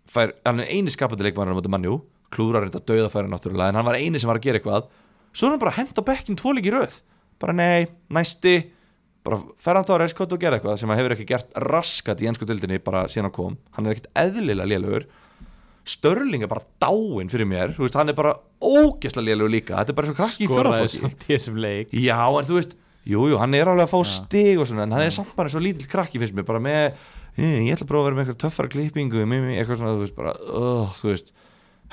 fær, hann er eini skapandi leikmann móti Mannjú klúrar reynda döðafæri náttúrulega en hann var eini sem var að gera eitthvað svo er hann bara hent á bekkin tvo líki röð bara nei, næsti bara Ferran Torres gott og gera eitthvað sem hann hefur ekki gert raskat í ennsku deildinni bara síðan hann kom hann er ekkit eðlilega lélugur Störling er bara dáinn fyrir mér þú veist, hann er bara ógæsla lélugur líka þetta er bara svo krakki í
Skoraði
fjörðarfólki
samt í þessum leik
Já, en þú veist, jú, jú, hann er alveg að fá
Já.
stig og svona, en hann er samt bara svo lítill krakki fyrst mér, bara með, eh, ég ætla að prófa að vera með eitthvað töffara klippingu, mimi, eitthvað svona, þú veist, bara, oh, þú veist,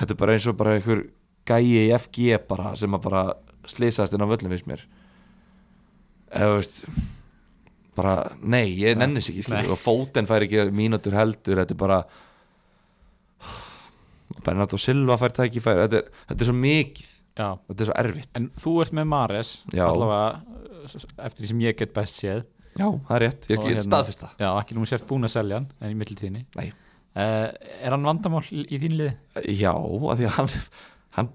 þetta er bara eins og bara einhver gæi í FG bara, sem að bara slisast inn á völlum fyrst mér, eða, þú veist, bara, nei, ég nenni sig ekki skilur, og fóten fær ekki mínútur heldur þetta er bara Bernardo Silva fær tækifæri þetta er, þetta er svo mikið,
já.
þetta er svo erfitt
En þú ert með Mares
Já.
allavega uh, s- eftir því sem ég get best séð
já, það er rétt, ég
Og
get
hérna-
hérna. staðfista
Já, ekki nú sért búin að selja hann en í mittiltíðinni
Nei.
Er hann vandamál í í þín liði?
já, af því að hann, hann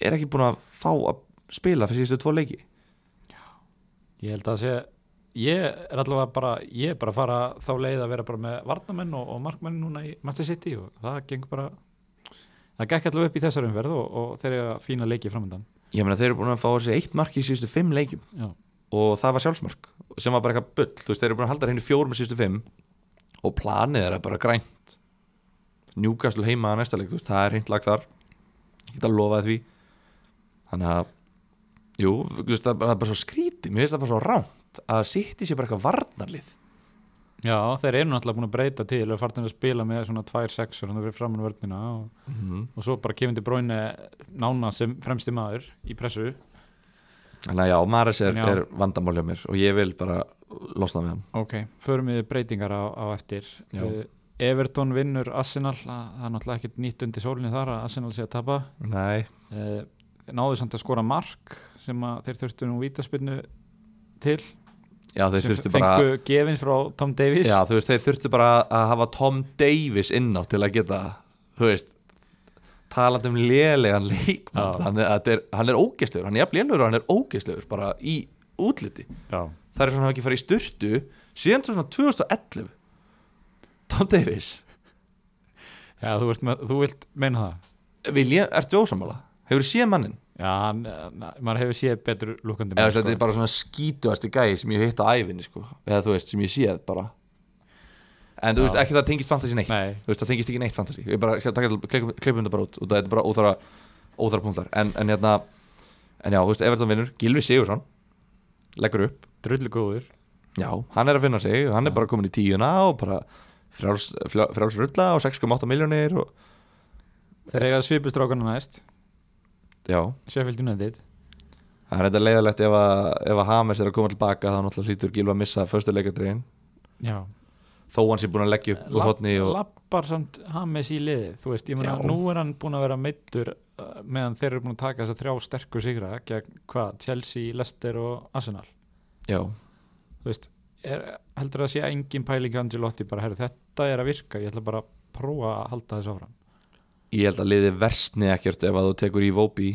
er ekki búin að fá að spila fyrir síðustu tvo leiki
Ég held að sé Ég er allavega bara, ég er bara að fara þá leið að vera bara með varnamenn og, og markmenn núna í Manchester City og það gengur bara það gekk allavega upp í þessar umferð og, og þeir eru að fína leiki framöndan
ég meina þeir eru búin að fá þessi eitt mark í síðustu fimm leikum
Já.
og það var sjálfsmark sem var bara eitthvað bull, þú veist þeir eru búin að halda henni fjórum í síðustu fimm og planið er bara grænt njúkastlu heima að næsta leik, þú veist, það er hreint lag þar ég get að lofa því þannig að jú, þú veist, það er bara- það er bara svo skrítið mér finnst það bara svo rámt að sitt í sér bara eitthvað varnarlið
Já, þeir eru náttúrulega búin að breyta til og farin að spila með svona 2-6 og hann verið framann vörnina og og svo bara kemur til bróinu nána sem fremsti maður í pressu
þannig að já, Maris er,
Já.
er vandamál hjá mér og ég vil bara losna með hann
ok, förum við breytingar á, á eftir
Já.
uh, Everton vinnur Arsenal, það það er náttúrulega ekkert nýtt undir sólinni þar að Arsenal sé að tapa
nei,
uh, náðu samt að skora mark sem að þeir þurftu nú vítaspinnu til
já þeir
sem
þurftu bara
fengu gefins frá Tom Davies
Já, þú veist, þeir þurftu bara að hafa Tom Davis inná til að geta, þú veist talandi um lélegan
Já.
leikmann hann er, þetta er, hann er ógeðslegur, hann er jafn lélegur og hann er ógeðslegur bara í útliti
Já.
það er svona að hafa ekki farið í styrtu síðan svona 2011 Tom Davis,
Já, þú, veist, með, þú vilt meina það
Vilja, ertu ósamála? Hefur séð mannin?
Já, hann, na, maður hefur séð betur lukkandi
Eða,
menn,
sko. Þetta
sko.
er bara svona skítuasti gæði sem ég hef hitt á ævinni, sko eða þú veist, sem ég séð bara En þú
Já.
veist, ekki það tengist fantasy neitt
Nei.
Þú veist, það tengist ekki neitt fantasy Ég bara skal taka til klippum klippum þetta bara út og það er bara óþara, óþara punktar en, en hérna, en já, þú veist, Everton vinnur Gilvi Sigursson leggur upp
drullu góður
Já, hann er að finna sig,
Já.
hann er bara komin í tíuna og bara frjáls, frjá- frjáls rulla og 6,8 miljónir og
þeir eiga svipustrákana næst
já,
Sheffield United
það er þetta leiðalegt ef að, ef að Hames er að koma tilbaka þá náttúrulega hlýtur Gilvi að missa föstuleikadregin
Já,
þó hann sé búin að leggja upp úr
Lapp-
hotni og
lappar samt Hames í liði þú veist, ég meina
Já.
nú er hann búin að vera meittur uh, meðan þeir eru búin að taka þess að þrjá sterkur sigra gegn hvað, Chelsea, Leicester og Arsenal
já,
þú veist, er, heldur það að sé engin pæling hjá Angelotti bara, herru, þetta er að virka ég ætla bara að prófa að halda þess áfram
ég held að liði versni ekkert ef að þú tekur í Vóbi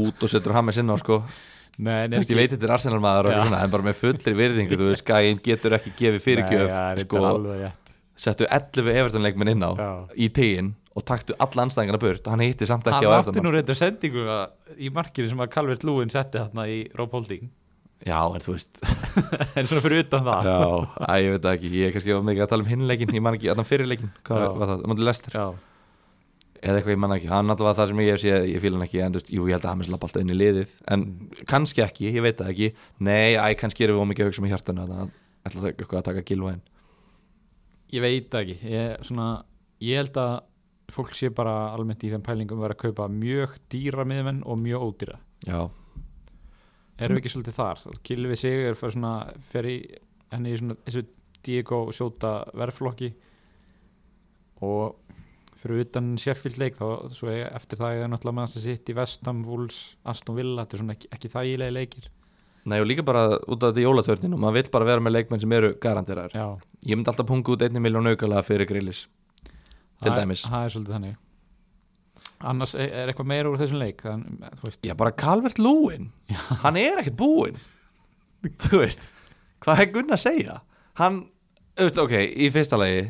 út og setur Hames inn á sko
Nei,
Þú veist, ég veit þetta er Arsenal maður og
Já.
eitthvað svona, en bara með fullri virðingu, þú veist, Skæin getur ekki gefið fyrirgjöf,
sko,
sko, settu 11 Everton leikminn inn á í teginn og taktu alla anstæðingana burt hann hitti samt
hann
ekki á
átti
Everton
nú reynda sendingu að- í markinu sem að Calvert Lúin setti þarna í Rob Holding
Já, en þú veist,
en svona fyrir utan það
já, æ, ég veit það ekki ég er kannski of mikið að tala um hinleikin, ég man ekki þannig fyrirleikin, hvað
Já.
var það, mútið lestir
Já.
eða eitthvað ég man ekki, hann alltaf var það sem ég hef séð ég fíla hann ekki, en þú veist, jú, ég held að Hamis lappa alltaf inn í liðið, en kannski ekki, ég veit það ekki nei, æ, kannski erum við ómikið að hugsa með hjartanu þannig að ætla eitthvað að taka gilvæðin
Ég veit það ekki ég, svona, ég held að fólk sé bara almennt í þeim pælingum að vera að kaupa mjög dýra miðmenn og mjög ódýra
já,
erum við ekki svolítið þar Kilvi Sigur fyrir, svona, fyrir henni í svona, þessu Diego sjóta verflokki og fyrir utan Sheffield leik þá svo ég, eftir það ég er náttúrulega með þess að sitt í Vestam, Wolves, Aston Villa þetta er svona ekki, ekki þægilega leikir
nei, og líka bara út af þetta jólatörnin og maður vill bara vera með leikmenn sem eru garantirar
Já,
ég myndi alltaf punga út einni miljón aukala fyrir grillis Til dæmis.
Það er svolítið þannig Annars er er eitthvað meira úr þessum leik þann, þú veist,
já, bara Calvert Lúin hann er ekkert búinn þú veist, hvað er Gunn að segja hann, þú veist, ok, í fyrsta lagi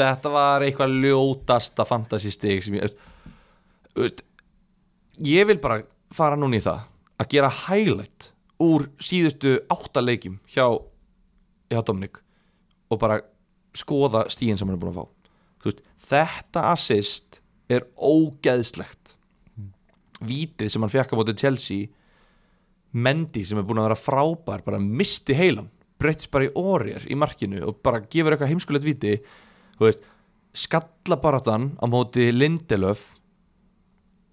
þetta var eitthvað ljótasta fantasystig sem ég, þú veist ég vil bara fara núna í það að gera highlight úr síðustu átta leikjum hjá, hjá Dominik og bara skoða stíðin sem hann er búin að fá þú veist, þetta assist er ógeðslegt vítið sem hann fekk á móti Chelsea Mendy sem er búin að vera frábær bara misti heilan breytist bara í orðir í markinu og bara gefur eitthvað heimskulegt víti þú veist, skallabaratan á móti Lindelöf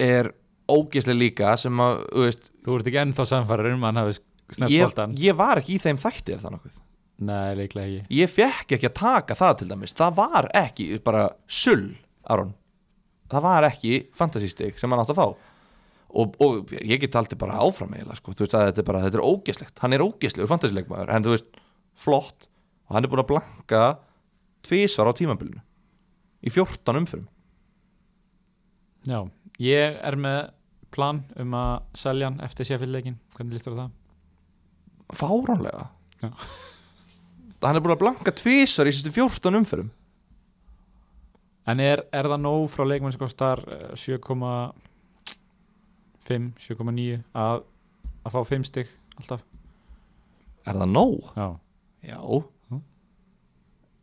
er ógeðslega líka sem að, þú veist
Þú ert ekki ennþá samfærar um að hann hafi snett
ég,
boltan
ég var ekki í þeim þætti er það nokkuð
Nei, leiklega ekki
ég fekk ekki að taka það til dæmis það var ekki bara sull Aron, það var ekki fantasístig sem hann átt að fá og, og ég get aldrei bara áfram eiginlega sko, þú veist að þetta er bara, þetta er ógeslegt hann er ógeslegur fantasíleikmaður, en þú veist flott, og hann er búin að blanka tvísvar á tímabilinu í 14 umfyrum
Já, ég er með plan um að selja hann eftir séfildleikin Hvernig lístur það?
fáránlega
Já.
hann er búin að blanka tvísvar í sérstu 14 umfyrum
En er, er það nóg frá leikmann sem kostar eh, 7,5 7,9 að, að fá 5 stygg alltaf?
er það nóg?
Já,
Já
Mm.
Hm?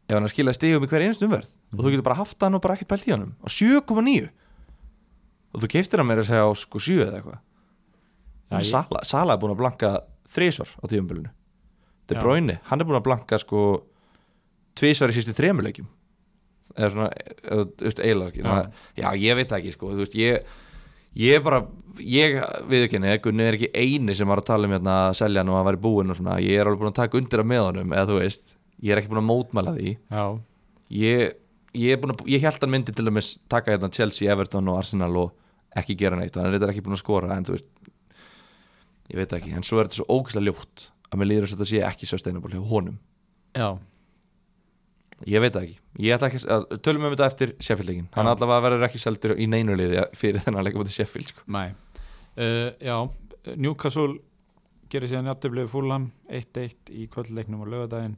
Ef hann er að skila stigum í hver einstu umverð og þú getur bara haft hann og bara ekkert pælt í honum á 7,9 og þú keiftir hann meira að segja á sko 7 eða eitthvað
Já, ég-
Sala, Sala er búin að blanka þrísvar á tíumbölinu De
Já.
Bruyne, hann er búin að blanka sko tvísvar í sístu þremuleikjum eða svona eða, þú veist, eiginlega skil
Já.
já. já, ég veit það ekki sko þú veist, ég, ég bara ég viðurkenni, Gunni er ekki eini sem var að tala um hérna að selja hann og hann var í búin og svona, ég er alveg búin að taka undir að með honum eða þú veist, ég er ekki búin að mótmæla því
já,
ég, ég er búin að, ég held hann myndi til dæmis taka hérna Chelsea, Everton og Arsenal og ekki gera neitt, hann er þetta ekki búin að skora en þú veist, ég veit það ekki en svo er þetta svo ógæslega ljótt að mér líður að þetta sé ekki sustainable hjá honum
já,
ég veit það ekki, ég ætla ekki að tölum um þetta eftir Sheffieldleikin, hann
Já.
allavega verður ekki seldur í neinu liði fyrir þennan leikum á þetta Sheffield sko.
mæ uh, Já, Newcastle gerir síðan jafntöflið fúlam 1-1 í kvöldleiknum á laugardaginn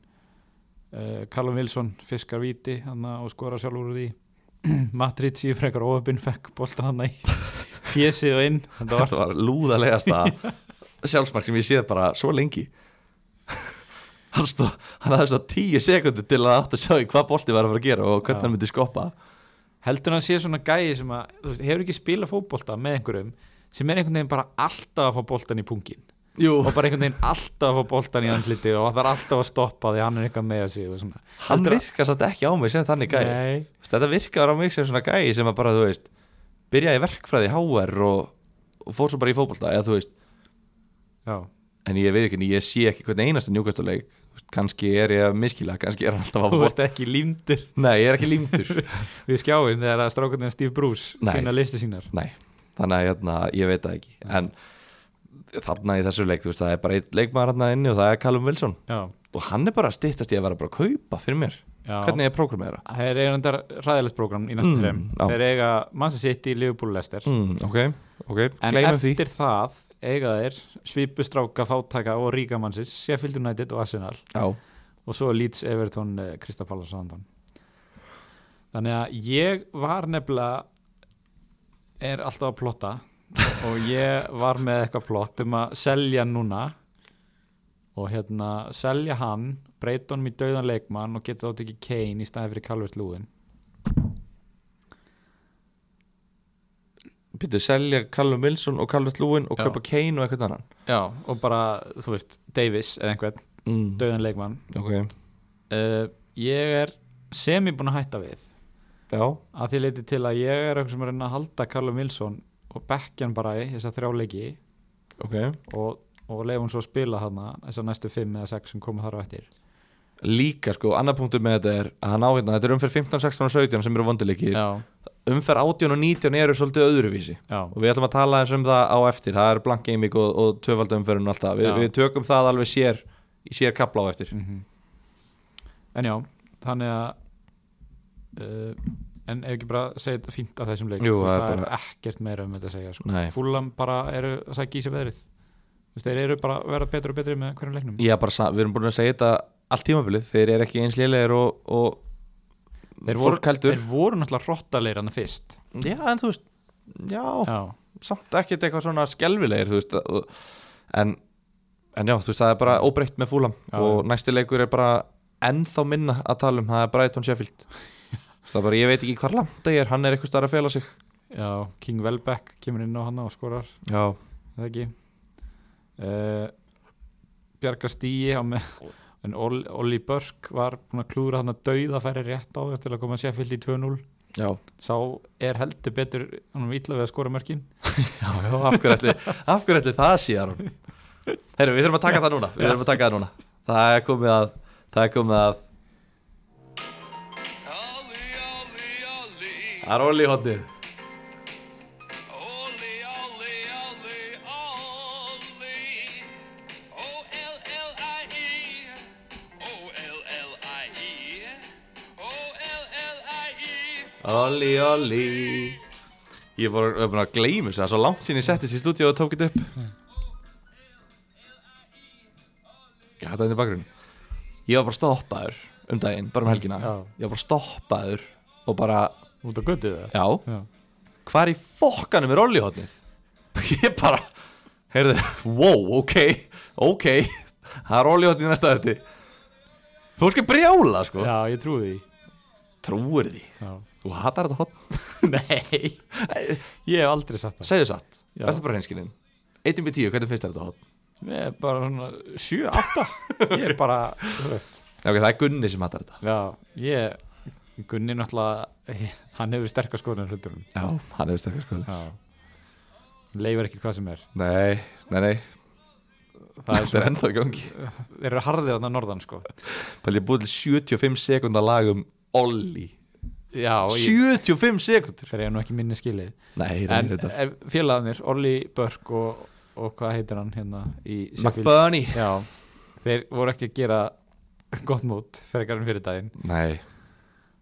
uh, Callum Wilson fiskar víti hana, og skora sjálfur úr því Matt Ritchie frekar óöpinn fekk boltan hann í fjesið og inn þetta var
þetta var lúðalegast að sjálfsmark sem ég séð bara svo lengi hann, stó, hann hafði svo tíu sekundu til að átt að sjá hvað bolti var að fara að gera og hvernig
Já.
hann myndi skoppa
heldur hann sé svona gæi sem að þú veist, hefur ekki spilað fótbolta með einhverjum sem er einhvern veginn bara alltaf að fá boltan í pungin
Jú,
og bara einhvern veginn alltaf að fá boltan í andliti og það er alltaf að stoppa því að hann er eitthvað með sig og svona
hann
Heldur
virkar satt ekki á mig sem þannig gæi
Nei,
Þú veist, þetta virkar á mig sem svona gæi sem að bara þú veist byrjaði í verkfræði í HR og, og fór svo bara í fótbolta eða þú veist
já,
en ég veit ekki, ég sé ekki hvernig einasta njúkastuleik kannski er ég að miskila kannski er hann alltaf að
þú
bóta
ert ekki límdur
nei, ég er ekki límtur
við skjáin þegar að strákunni Steve Bruce
Nei.
sína listu sínar
nei, þannig að hérna, ég veit það ekki en þarna í þessu leik þú veist, það er bara einn leikmaður hérna inni og það er Callum Wilson
já,
og hann er bara að styttast í að vera bara að kaupa fyrir mér
já.
hvernig ég prógramera
þeir eiga þetta ræðilegt program í næstu
Mm,
þreim
já.
þeir eiga Manchester City, Liverpool, Leicester
mm, ok, ok,
en
gleymum því
eftir það eiga þeir svipustráka, fátaka og ríkamannsins Sheffield United og Arsenal
já,
og svo Leeds, Everton, Krista Pallas og Andan þannig að ég var nefnilega er alltaf að plotta og ég var með eitthvað plott um að selja núna og hérna selja hann breyta honum í dauðan leikmann og geta þá tekið Kane í staði fyrir Calvert Lúin
Býttu, selja Callum Wilson og Calvert Lúin og
Já.
kaupa Kane og eitthvað annan
Já, og bara, þú veist, Davis eða einhvern,
mm.
dauðan leikmann
Ok,
uh, ég er semi búin að hætta við
já,
að því leiti til að ég er eitthvað sem er að reyna að halda Callum Wilson og bekkja hann bara í þessa þrjá leiki
ok
og, og leif hún svo að spila hana þessar næstu fimm eða sex sem koma þar á eftir
Líka sko, annar punktur með þetta er að hann á hérna, þetta er umferð 15, 16 og 17 sem eru vondileiki
já,
Umferð 18 og 19 eru svolítið öðruvísi
já,
og við ætlum að tala eins um það á eftir það er blank gaming og, og tvöfald umferðun og allt það Vi,
Já.
við tökum það alveg sér í sér kapla á eftir
mm en já þannig að uh, en ef ekki bara segja þetta fínt af þessum leik
Jú,
þú veist,
það
það
er
er ekkert meira um þetta að segja sko.
Nei.
fúlam bara eru að sækja í sig veðrið Þú veist, þeir eru bara að vera betri og betri með hverjum leiknum
Já, bara, sa- við erum búin að segja þetta allt tímabilið, þeir eru ekki eins lélegir og, og
þeir voru,
fólk heldur
þeir voru náttúrulega rottalegir hann fyrst
Já, en þú veist, já
já,
samt ekkert eitthvað svona skelvilegir þú veist og- en, en já, þú veist, það er bara óbreytt með fúlam
Já,
og næsti leikur er bara ennþá minna að tala um, það er Brighton Sheffield Þú veist, það er bara, ég veit ekki hvar landa ég er, hann er eitthvað starf að fela sig
já, King Welbeck kemur inn á hana og skorar
já,
Er það ekki uh, Bjargar Stíi á með en Ol- Olli Börk var búin að klúra hann að dauða færi rétt á þér til að koma Sheffield í 2-0
já,
sá er heldur betur hann var illa við að skora mörkin
já, já af hverju ætli af hverju ætli það sé Aron Heyrðu, við þurfum að taka það núna við þurfum að taka það núna það er komið að það er komið að
Olli, olli, olli,
Það er Olli hotnið
olli, olli, olli, olli. O-L-L-I-E, O-L-L-I-E, O-L-L-I-E.
Olli, Olli Ég var ég var búinn að gleyma þess að svo langt sín ég setti þessi í stúdíu og tók þetta upp Ég hætti þetta í bakgrunn Ég var bara stoppaður um daginn, bara um helgina
Já.
Ég var bara stoppaður og bara,
út á göttið það
já,
já.
hvar í fokkanum er Olli hotnið? Ég bara, heyrðu, wow, ok, ok Það er Olli hotnið í næsta þetta Fólk er brjála, sko
já, ég trúi því
Trúir því
já.
Þú hatar þetta hotn
nei, ég hef aldrei sagt það
Segðu satt,
Já.
verður bara hreinskilinn 1.10, hvernig finnst þér þetta hotn?
ég er bara svona 7-8 ég er bara, þú veist
Já, ok, það er Gunni sem hatar þetta
já, ég Gunni náttúrulega, hann hefur sterkar skoðan hluturum
Já, hann hefur stökkar sko
já leifar ekkert hvað sem er
Nei, nei, nei,
það er
þetta er ennþá í gangi
þeir eru harðir þarna norðan sko
Pæli, ég búið til 75 sekundar lag um Olli
já, ég,
75 sekundur
þeir eru nú ekki minni skilið
Nei, ég
en
reynir þetta
eh, félagarnir, Olli Börk og, og hvað heitir hann hérna í Sheffield?
McBurney
já, þeir voru ekki að gera gott mót frekar en fyrir daginn
Nei,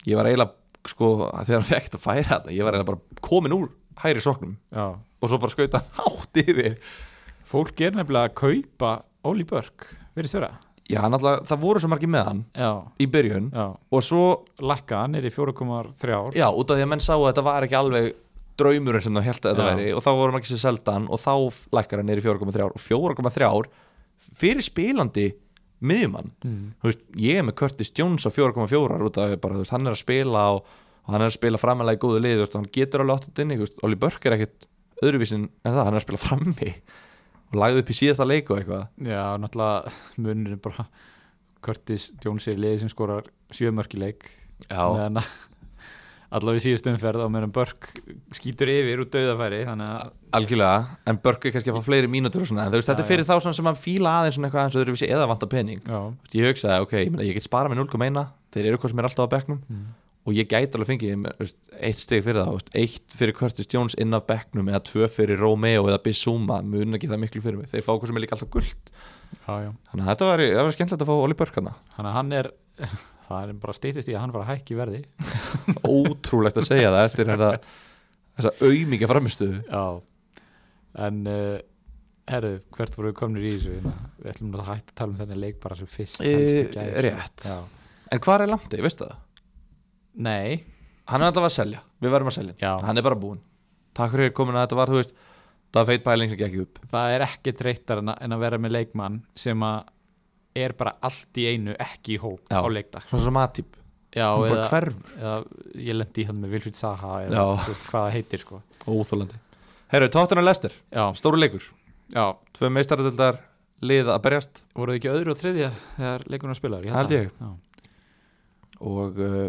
ég var eiginlega, sko, að þegar hann fekk þetta færa þetta Ég var eiginlega bara komin úr hæri soknum
já.
Og svo bara skauta hátt yfir
fólk er nefnilega að kaupa Olli Börk, verið þurra
Já, hann alltaf, það voru svo margir með hann
já,
í byrjun
já,
Og svo,
lakkaðan er í 4,3 ár
já, út af því að menn sáu að þetta var ekki alveg draumurinn sem það held að þetta
Já.
væri og þá voru margir sem selda hann og þá f- lækkar hann niður í 4,3 ár og 4,3 ár fyrir spilandi miðjumann
mm.
þú veist, ég er með Curtis Jones á 4,4 út af bara, þú veist, hann er að spila og, og hann er að spila framalega í góðu lið þú veist, hann getur alveg áttið inn, þú veist, Oli Börk er ekkit öðruvísin en það, hann er að spila frammi og lagði upp í síðasta leik og eitthvað
já, náttúrulega munir bara Curtis Jones er í liði sem skorar sjömörkileik
já,
meðan að allavega í síðustu umferð á meðan Börk skýtur yfir úr dauðafæri þannig að
algjörlega, en Börk er kannski að fá fleiri mínútur og svona, en þú veist, þetta
Já,
er fyrir þá svona sem hann fíla aðeins svona eitthvað aðeins öðruvísi eða vanta pening
já,
Þú veist, ég hugsaði, ok, ég, meina, ég get sparað með 0,1 þeir eru hvað sem er alltaf á bekknum
Mm.
og ég gæti alveg fengið þeim, þú veist, eitt stig fyrir það þú veist, eitt fyrir Curtis Jones inn af bekknum eða tvö fyrir Romeo eða Bissúma mun ekki það miklu fyrir mig, þeir fá hvað sem er líka alltaf gullt
já, já
þannig að þetta var, það var skemmtilegt að fá Oli Börkana
þannig að hann er það er bara steytist í að hann var að hækki í verði
ótrúlegt að segja það eftir þetta þessa auðmíka framistuðu
já en uh, herru, hvert voru við komnir í þessu hérna? við ætlum nú að hætta að tala um þenni leik bara sem fyrst
Eh,
helst í gær, sko.
rétt.
já.
en hvað er Lamdi, veistu það?
nei,
hann er alltaf að selja, við verðum að selja
Já.
hann er bara búinn, takk fyrir komin að þetta var þú veist, það var feit pæling sem gekk upp
það er ekki dreittar en, að- en að vera með leikmann sem að er bara allt í einu ekki í hóp
Já.
á leikdag
svona sem aðtýp,
já,
bara
eða,
hverfur
eða ég lendi í hann með Vilfríð Saha eða
Já.
þú veist, hvað það heitir sko
Óþólandi Herru, Tottenham Lester,
já,
stóru leikur
já,
Tvö meistaratöldar lið að berjast
voru þið ekki öðru og þriðja þegar leikurinn var spilaður það.
Held ég.
Já.
Og uh,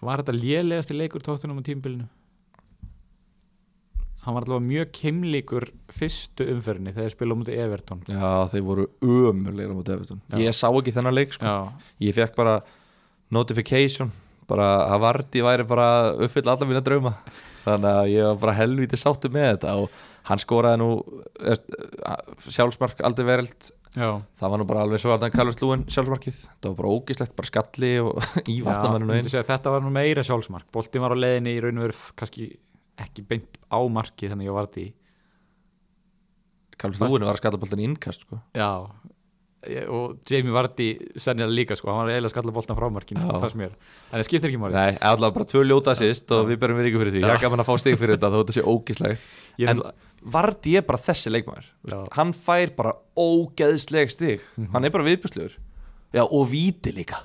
Var þetta lélegasti leikur tóttunum á tímbilinu? Hann var allavega mjög keimlíkur fyrstu umferðinni þegar spila mútið Everton
já, þeir voru ömurleira mútið Evertun
Já.
Ég sá ekki þennan leik sko.
Já,
Ég fekk bara notification bara að Vardí væri bara að uppfylla alla mína drauma þannig að ég var bara helvíti sáttu með þetta og hann skoraði nú eh, sjálfsmark aldrei verild
já,
það var nú bara alveg svo að hann kallast lúin sjálfsmarkið það var bara ógislegt, bara skalli og í vatnamenninu
myndi
einn
segja, þetta var nú meira sjálfsmark Boltinn var á leiðinni í raun og veru f- kannski ekki beint á markið þannig að ég var því
kallast lúin var að skalla boltan í innkast sko.
Já Ég- og Jamie Vardy sennilega líka sko, hann var eiginlega að skalla boltan frá markinu
Já.
það sem er, en það skiptir ekki máli
Nei, allavega bara tvö ljóta sýst og við berum við ykkur fyrir því.
Já.
Ég er gaman að fá stig fyrir þetta þó þetta sé ógísleg.
Ég er
En Vardí er bara þessi leikmaður.
Já. Mhm.
Hann fær bara ógeðsleg stig. Hann er bara viðbjörnslegur. Já, og víti líka.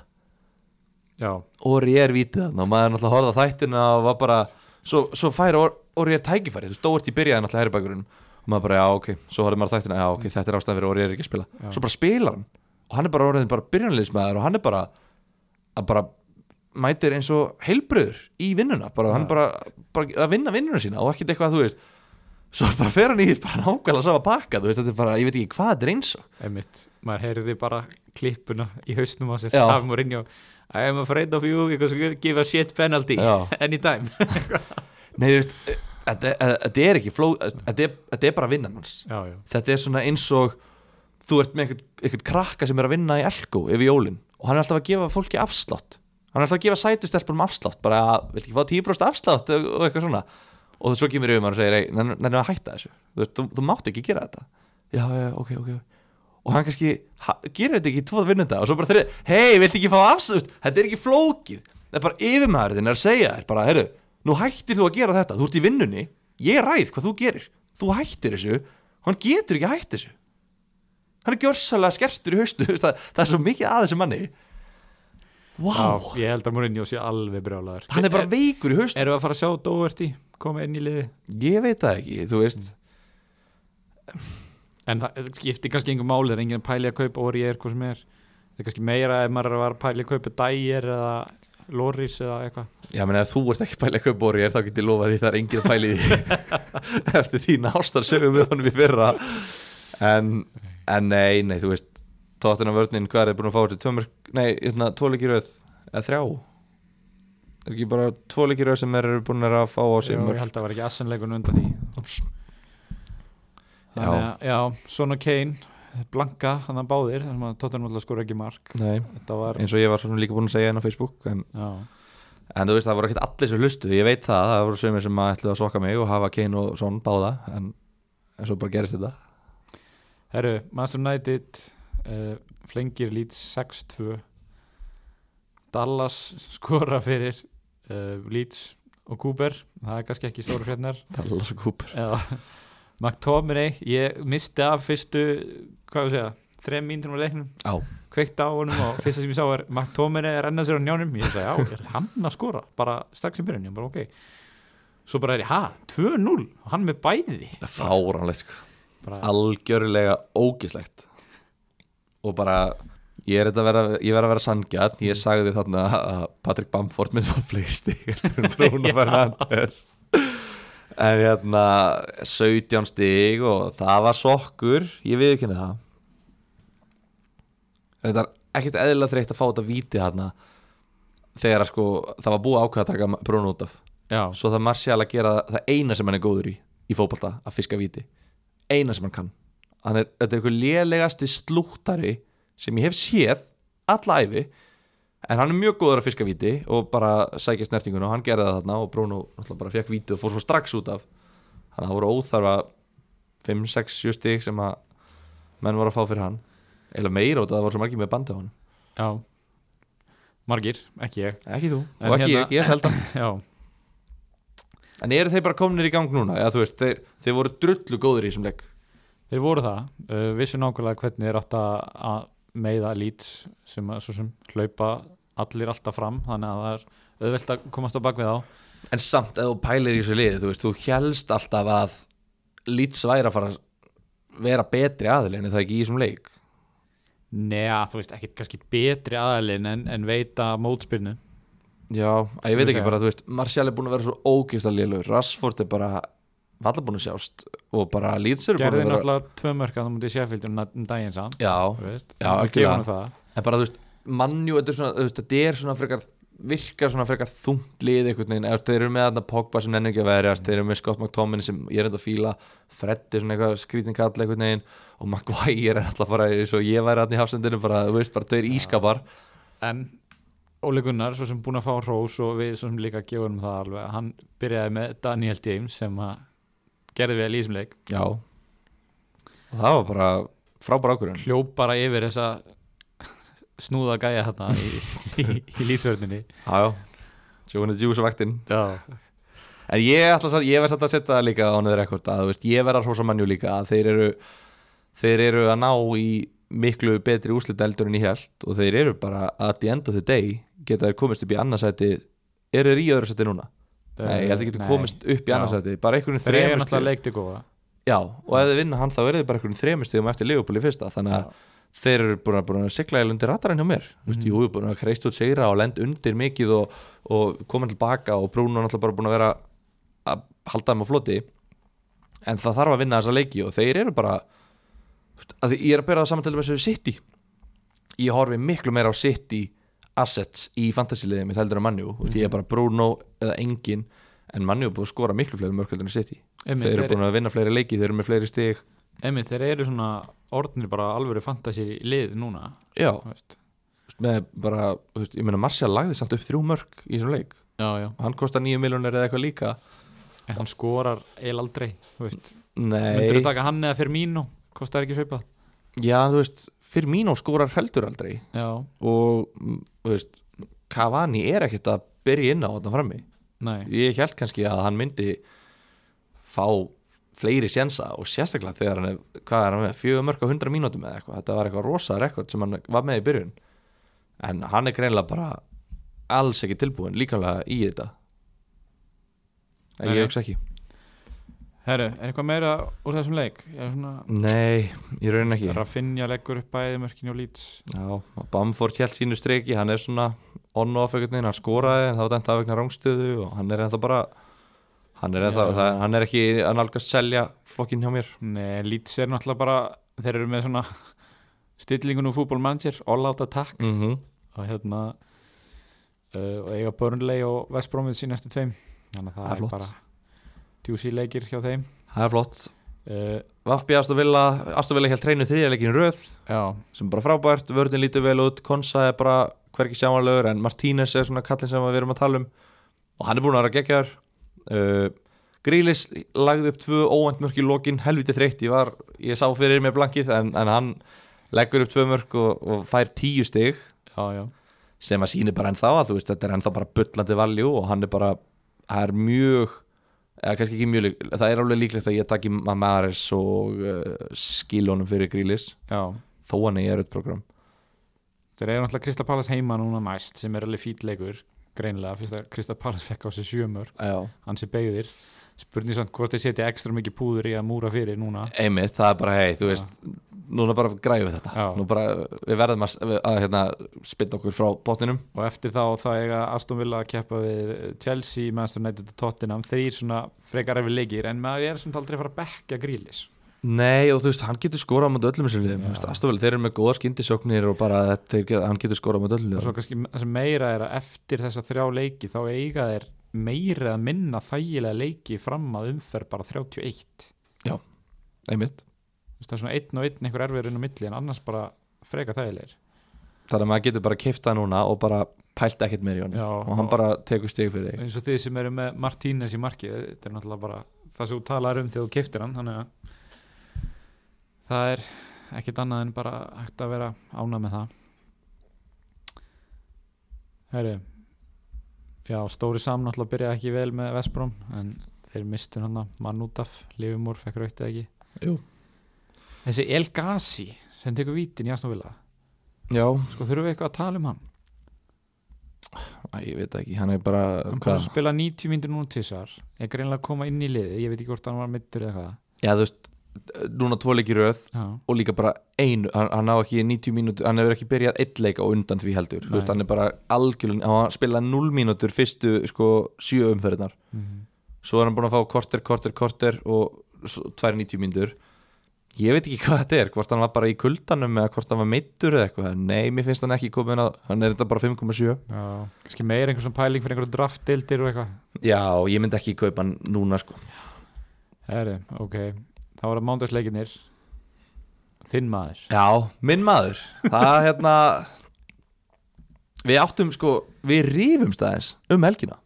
Já,
Orri er vítið þarna og maður er náttúrulega horfða þættina og var bara, svo, svo fær Or- Orri er tækifærið. Þú stóðist í byrjaði náttúrulega herribækurinn og maður bara, já, ok, svo horfði maður á þættina, já, ok, þetta er ástæðan fyrir Orri er ekki að spila.
Já.
Svo bara spilar hann og hann er bara orðin bara byrjanleismæður og hann er bara, að bara mætir eins og heilbröður í vinnuna bara, hann bara, bara að vinna vinnuna sína og ekkert eitthvað að þú veist svo bara fer hann í bara nákvæmlega sama pakka þú veist, þetta er bara, ég veit ekki hvað þetta er eins og
Einmitt, maður heyrði bara klippuna í hausnum á sér
Já.
af Mourinho I am afraid of you because you give a shit penalty
Já.
anytime
Nei, þú veist, eh, þetta eh, þetta er ekki fló, eh, þetta er, þetta er bara vinnan hans
já, já.
þetta er svona eins og þú ert með eitthvað, eitthvað krakka sem er að vinna í Elko yfir jólin og hann er alltaf að gefa fólki afslátt hann er alltaf að gefa sætustelpunum afslátt bara að, vill ekki fá 10% afslátt og, og eitthvað svona og svo kemur yfir maður og segir "Ei, nenn- nennir að hætta þessu þú, veist, þú, þú mátt ekki gera þetta já, já, ok, ok og hann kannski ha, gerir þetta ekki í tvo vinnunda og svo bara þeirri, hei, vill ekki fá afslátt Þú veist, þetta er ekki flókið, það er bara yfirmaðurinn er að segja þér, bara, heyrðu, nú hættir þú að gera þetta þú ert í vinnunni, ég ræð hvað þú gerir þú hættir þessu, hann getur ekki hætt þessu hann er gjörsalega skertur í haustu það, það er svo mikið að þessu manni wow,
ég held að Mourinho sé alveg brjálaður
hann er bara veikur í haustu
Erum við að fara að sjá Doherty koma inn í liði
ég veit það ekki, þú veist
en það skiptir kannski einhver máli það er enginn að pæli að kaupa orði er hvað sem er það er kannski meira ef maður var að pæli að kaupa Dyer eða Loris eða eitthvað
Já, menn ef þú ert ekki pælið að kaupa Borger þá getur ég lofað því það er engin að pæli því eftir þín ástar sögum við honum í fyrra en, en nei, nei, þú veist tóttina vörninn, hvað er þið búin að fá þetta tvömer, nei, hérna, tvoleikiröð eða þrjá er ekki bara tvoleikiröð sem þeir eru búin að fá á sig
Jó, ég
mörg
held að það var ekki assanleikun undan því
Úps.
Þannig að, já, Son og Kane blanka, hann að báðir þannig að Tottenham alltaf skora ekki mark
nei,
þetta var,
eins og ég var svona líka búin að segja henn á Facebook en,
já,
en þú veist, það voru ekkert allir sem hlustu ég veit það, það voru sögumir sem að ætlu að soka mig og hafa Kane og Son báða en, en svo bara gerist þetta
herru, Master United uh, flengir Leeds 6-2 Dallas skora fyrir uh, Leeds og Cooper það er kannski ekki stóru fjarnar
Dallas og Cooper
Já, McTominay, ég misti af fyrstu, hvað ég að segja, þrem mínútur á leiknum,
á
kveikt á honum og fyrsta sem ég sá er McTominay að renna sér á njánum, ég sagði, já, er hann að skora, bara strax í byrjun, ég bara, ok. Svo bara er ég, ha, 2-0, og hann með bæði.
fáránlegt sko.
Bara,
algjörlega ógislegt og bara ég er þetta að vera, ég verð að vera sangjarn ég sagði þarna að Patrick Bamford með það fleiri stig Bruno Fernandes en hérna 17 stig og það var sokkur ég við ekki henni það en þetta er ekkert eðlilega þreytt að fá þetta víti þarna þegar að sko það var búið ákveð að taka Bruno út af
já,
svo það Martial að gera það eina sem hann er góður í í fótbolta, að fiska viti eina sem hann kann hann er, þetta er eitthvað lélegasti slúttari sem ég hef séð alla æfi en hann er mjög góður að fiska viti og bara sækja snertinguna og hann gerði það þarna og Bruno náttúrulega bara fekk viti og fór svo strax út af þannig að það voru óþarfa 5, 6, 7 stig sem að menn voru að fá fyrir hann eða meira út af að það voru svo margir með bandi á hann
já, margir, ekki ég,
ekki þú,
En
og ekki
hérna-
ég, ég selda
já,
En eru þeir bara komnir í gang núna? Já, þú veist, þeir, þeir voru drullu góðir í þessum leik
þeir voru það, uh, vissu nákvæmlega hvernig þeir átt að að meiða lít sem að, svo sem, hlaupa allir alltaf fram, þannig að það er auðvelt að komast á bakvið á.
En samt, ef þú pælir í þessu liði, þú veist, þú hélst alltaf að Leeds væri að fara að vera betri aðil en er það ekki í þessum leik
Nea, þú veist, ekkert kannski betri aðalinn en, en veita mótspyrnu.
Já, að ég veit ekki
Þú
bara, þú veist, Martial er búin að vera svo ógeðslega lélur Rashford er bara valla búin að sjást og bara Leeds eru búin
Gerði
að vera
náttúrulega tvö mörk að það mútið Sheffield um, na- um daginn sann,
Já,
þú veist.
Já,
Við
algjörlega.
gefum honum það.
en bara þú veist mannjú, þetta er svona, þú veist, þetta er svona frekar virkar svona frekar þungt lið einhvern veginn, eða þú veist, þeir eru með þarna Pogba sem nenni ekki að verjast, þeir eru með Scott McTomin sem ég er enda að fíla, Freddi svona eitthvað skrítin kall einhvern veginn og Maguire er alltaf bara eins og ég væri hann í hafsendinu bara, þú veist, bara tveir ískapar
En Óli Gunnar, svo sem búin að fá hrós og við svo sem líka gefum honum það alveg, hann byrjaði með Daniel James sem að gerði vel í þessum leik,
Já og það var bara frábær ákvörðun
hljóp bara yfir þessa snúða gæja þarna í, í, í lýsverðinni.
Já, já, sjóinu djúsa vaktinn
Já.
En ég ætla satt, ég verð satt að setja það líka á neður rekord að þú veist, ég verð að hrósa mannjú líka að þeir eru, þeir eru að ná í miklu betri úslit eldur en ég held og þeir eru bara að the end of the day geta þeir komist upp í annarsæti eru þeir í öðru sæti núna? Nei, ég held þeir geta komist upp í
Já.
annarsæti bara
Þeir
einhvern
eru
þremur
náttúrulega
stigum
leikti góða.
Já, og ef þeir vinna hann þá eru þeir bara einhvern þremur stigum eftir Leopold í fyrsta þannig að þeir eru búin að, búin að sigla í lundi ratarinn hjá mér mm -hmm. Jú, búin að kreist út sigra og lend undir mikið og, og komin tilbaka og Bruno er náttúrulega bara búin að vera að halda þeim á floti en það þarf að vinna þessa leiki og þeir eru bara þú veist, að því ég er að bera það saman til þess að við City ég horfi miklu meira á City assets í fantasy-liðið mitt heldur en Manju mm. ég er bara Bruno eða engin en Manju er búin að skora miklu fleiri mörg heldur en City
Einmitt,
þeir eru
þeir-
búin að vinna fleiri leiki, þeir eru með fleiri stig
Einmitt, þeir eru svona orðnir bara alvöru fantasi lið núna
já,
þú veist.
þú veist, með bara, þú veist, ég meina Marcial lagði samt upp þrjú mörg í þessum leik
Já, já,
og hann kostar nýju miljonir eða eitthvað líka
en hann skorar eil aldrei, þú veist Myndur
Nei,
þú taka hann eða Firmino, kostar ekki svipað
já, þú veist Firmino skórar heldur aldrei
Já,
og, mm, þú veist Cavani er ekkert að byrja inn á þetta frammi
nei,
ég held kannski að hann myndi fá fleiri sjensa og sérstaklega þegar hann er, hvað er hann með, fjögur mörg á 100 mínútum eða eitthvað, þetta var eitthvað rosa rekord sem hann var með í byrjun en hann er greinlega bara alls ekki tilbúin líkanlega í þetta
Nei,
en
nei.
ég hugsa ekki
herru, er eitthvað meira úr þessum leik? Ég er svona,
nei, í raunin ekki
Rafinha leggur upp bæði mörkin og lít
Já, og Bamford held sínu streiki, hann er svona on-off einhvern veginn, hann skoraði en það var dæmt af vegna rángstöðu og hann er ennþá bara hann er, ennþá,
Já.
það, hann er ekki að nálgast selja flokkinn hjá mér
Nei, lít er náttúrulega bara þeir eru með svona stillingun úr fútbolmannsir, all out attack
mm
og hérna uh, og eiga Burnley og West Bromwich í næstu tveim þannig að það
Það er
er,
flott.
bara djúsi leikir hjá þeim
Það er flott
uh,
Vafbi Astovilla, Astovilla held treinu þriðjarleikin röð
Já,
sem er bara frábært, vörðin lítið vel út Konsa er bara hverki sjáanlegur en Martínez er svona kallin sem við erum að tala um og hann er búin að vera geggjar uh, Grílis lagði upp tvö óvænt mörk í lokin, helviti þreytt ég, var, ég sá fyrir mér blankið en, en hann leggur upp tvö mörk og, og fær tíu stig
já, já
sem að sýnir bara ennþá að þú veist þetta er ennþá bara bullandi valjú og hann er bara það er mjög eða kannski ekki mjög, lík- það er alveg líklegt að ég taki Mamares og uh, skilunum fyrir Grílis
Já,
þó hann er öll program
þeir eru náttúrulega Krista Palace heima núna næst sem er alveg fýt leikur greinlega, fyrst að Krista Palace fekk á sig sjömör
Já.
hans er beigðir spurning samt hvort þeir setja ekstra mikið púður í að múra fyrir núna
einmitt, það er bara hei, þú veist núna bara græfum við þetta
Já.
Nú bara, við verðum að, að hérna, spynna okkur frá botninum
og eftir þá þá eiga Aston Villa að keppa við Chelsea, Manchester United og Tottenham þrýr svona frekar efir leikir en maður er samt aldrei að fara að bekka grílis
Nei, og þú veist, hann getur skorað á mjög öllum sem liðum,
Já.
þú veist, Astafel, þeir eru með góða skyndisjóknir og bara, þetta- þeir, get- hann getur skorað á mjög öllum
og svo
liðum
kannski það sem meira er að eftir þessa þrjá leiki þá eiga þeir meira að minna þægilega leiki fram að umferð bara 31
einmitt,
Þú veist, það er svona einn og einn einhver erfiður inn á milli en annars bara frekar þægilegir
þannig að maður getur bara kifta núna og bara pælt ekkert meir í honum
Já,
og hann
og-
bara tekur stig fyrir þig
eins og þið sem eru með Martínez í marki þetta er náttúrulega bara það sem þú talar um þegar þú keftir hann þannig að það er ekkit annað en bara hægt að vera ánað með það Herri já, stóri sam náttúrulega byrjaði ekki vel með Vestbrom en þeir mistu hann mann út af, Livimór fekk raukt eða ekki
Jú.
þessi El Gassi sem tekur vítin í Astonvilla
Já,
sko þurfum við eitthvað að tala um hann
Æ, ég veit ekki, hann er bara
hann búið að
hvað?
spila 90 myndir núna tísar er greinlega að koma inn í liði ég veit ekki hvort hann var mittur eða hvað
Já, þú veist, núna tvo leikir röð
já,
og líka bara einu, hann, hann á ekki 90 mínútur, hann hefur ekki byrjað eitt leik á undan því heldur,
Nei.
þú veist, hann er bara algjörlega, hann spilaði 0 mínútur fyrstu sko 7 umferðinar Mhm. svo er hann búin að fá korter, korter, korter og svo, tvær 90 mínútur ég veit ekki hvað þetta er, hvort hann var bara í kuldanum eða hvort hann var meittur eða eitthvað nei, mér finnst hann ekki komin að, hann er þetta bara 5,7
já. kannski meira einhver svona pæling fyrir einhverju draftdildir og eitthvað
já, ég myndi ekki kaupa hann núna sko
Heri, ok, þá var það mándagsleikinir þinn maður
Já, minn maður Það hérna Við áttum sko, við rífumst aðeins um helgina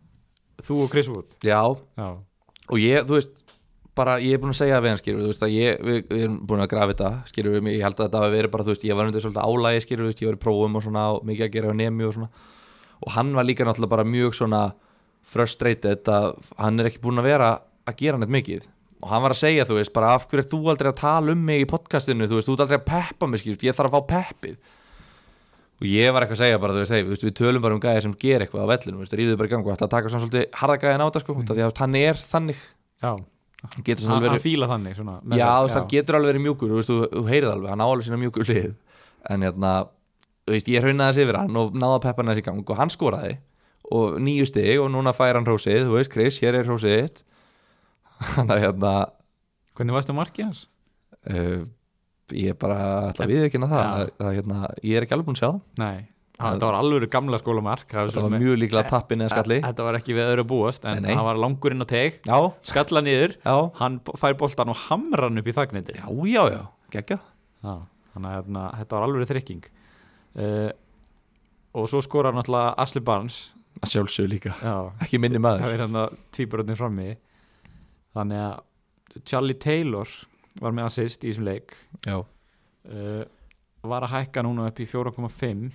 þú og Chris Wood
Já,
já,
og ég, þú veist bara, ég er búin að segja það við hann, skilur þú veist að ég, við, við erum búin að grafa þetta, skilur við mig, ég held að þetta hafi verið bara, þú veist, ég var undir svolítið álægi, skilur við, ég var í prófum og svona, og mikið að gera á nemi og svona og hann var líka náttúrulega bara mjög svona frustrated að hann er ekki búin að vera að gera neitt mikið og hann var að segja, þú veist, bara af hverju ert þú aldrei að tala um mig í podcastinu, þú veist, þú ert aldrei að peppa mig, skilur, ég þarf að fá peppið og ég var eitthvað að segja bara, þú veist, hey, þú veist, við tölum bara um gæði sem ger eitthvað á vellinu, þú veist, ríðuðu bara í gang og ætla að taka svona svolítið harða gæðin á þetta, sko, mm. því að þú veist, hann er þannig
já.
hann
Hann,
getur svona
hann
alveg verið
fíla þannig svona, með
já,
þeim,
þú veist, hann getur alveg verið mjúkur þú veist, þú, þú heyrið alveg, hann á alveg sína mjúkur hlið en hérna, þú veist, ég hrauna þess yfir hann og náða peppan þess í gang og hann skoraði og nýju stig og núna fær hann hrósið þú veist, Chris, hér er hrósið þitt hann að hérna
Hvernig varst það markið hans?
uh, ég bara ætla að viðurkenna það,
Já.
að, að, hérna, ég er ekki alveg búin að sjá það
Nei,
Það-
það var alveg gamla skólamark það
þetta
svo
var
sem-
mjög líklega tappin eða skalli
Þetta var ekki við öðru að búast en
Nei, nei.
hann var langurinn á teg,
já,
skalla niður
já,
hann b- fær boltan og hamran upp í þagnindi
já, já, já, geggja
Já, þannig að hérna, þetta var alveg þrykking uh, og svo skorar náttúrulega Asli Barnes
að sjálfsög líka,
Já,
ekki minni
það
maður
er hérna tvíbröndin frammi þannig að Charlie Taylor var með assist í þessum leik
já,
uh, var að hækka núna upp í 4,5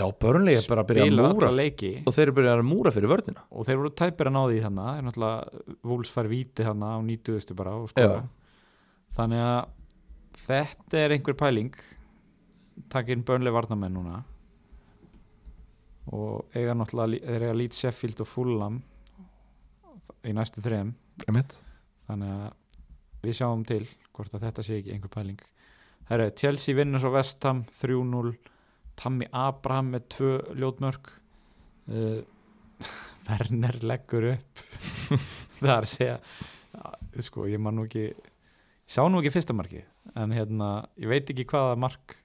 já börnlega bara að byrja
Spilar
að múra
alla leiki
og þeir eru byrjað að múra fyrir vörnina
og þeir voru tæpir að ná því þannig þeir náttúrulega Wolves fær víti þannig á 90. bara og skora
Já.
þannig að þetta er einhver pæling takkinn bönlega varnamenn núna og eiga náttúrulega lí- þeir eiga Leeds, Sheffield og Fulham í næstu þrem
Emitt.
þannig að við sjáum til hvort að þetta sé ekki einhver pæling Herru, Chelsea vinnur svo Vestham 3-0, Tammy Abraham með tvö ljótmörk uh, Werner leggur upp það er að segja að, sko, ég man nú ekki sá nú ekki fyrsta markið en hérna, ég veit ekki hvaða mark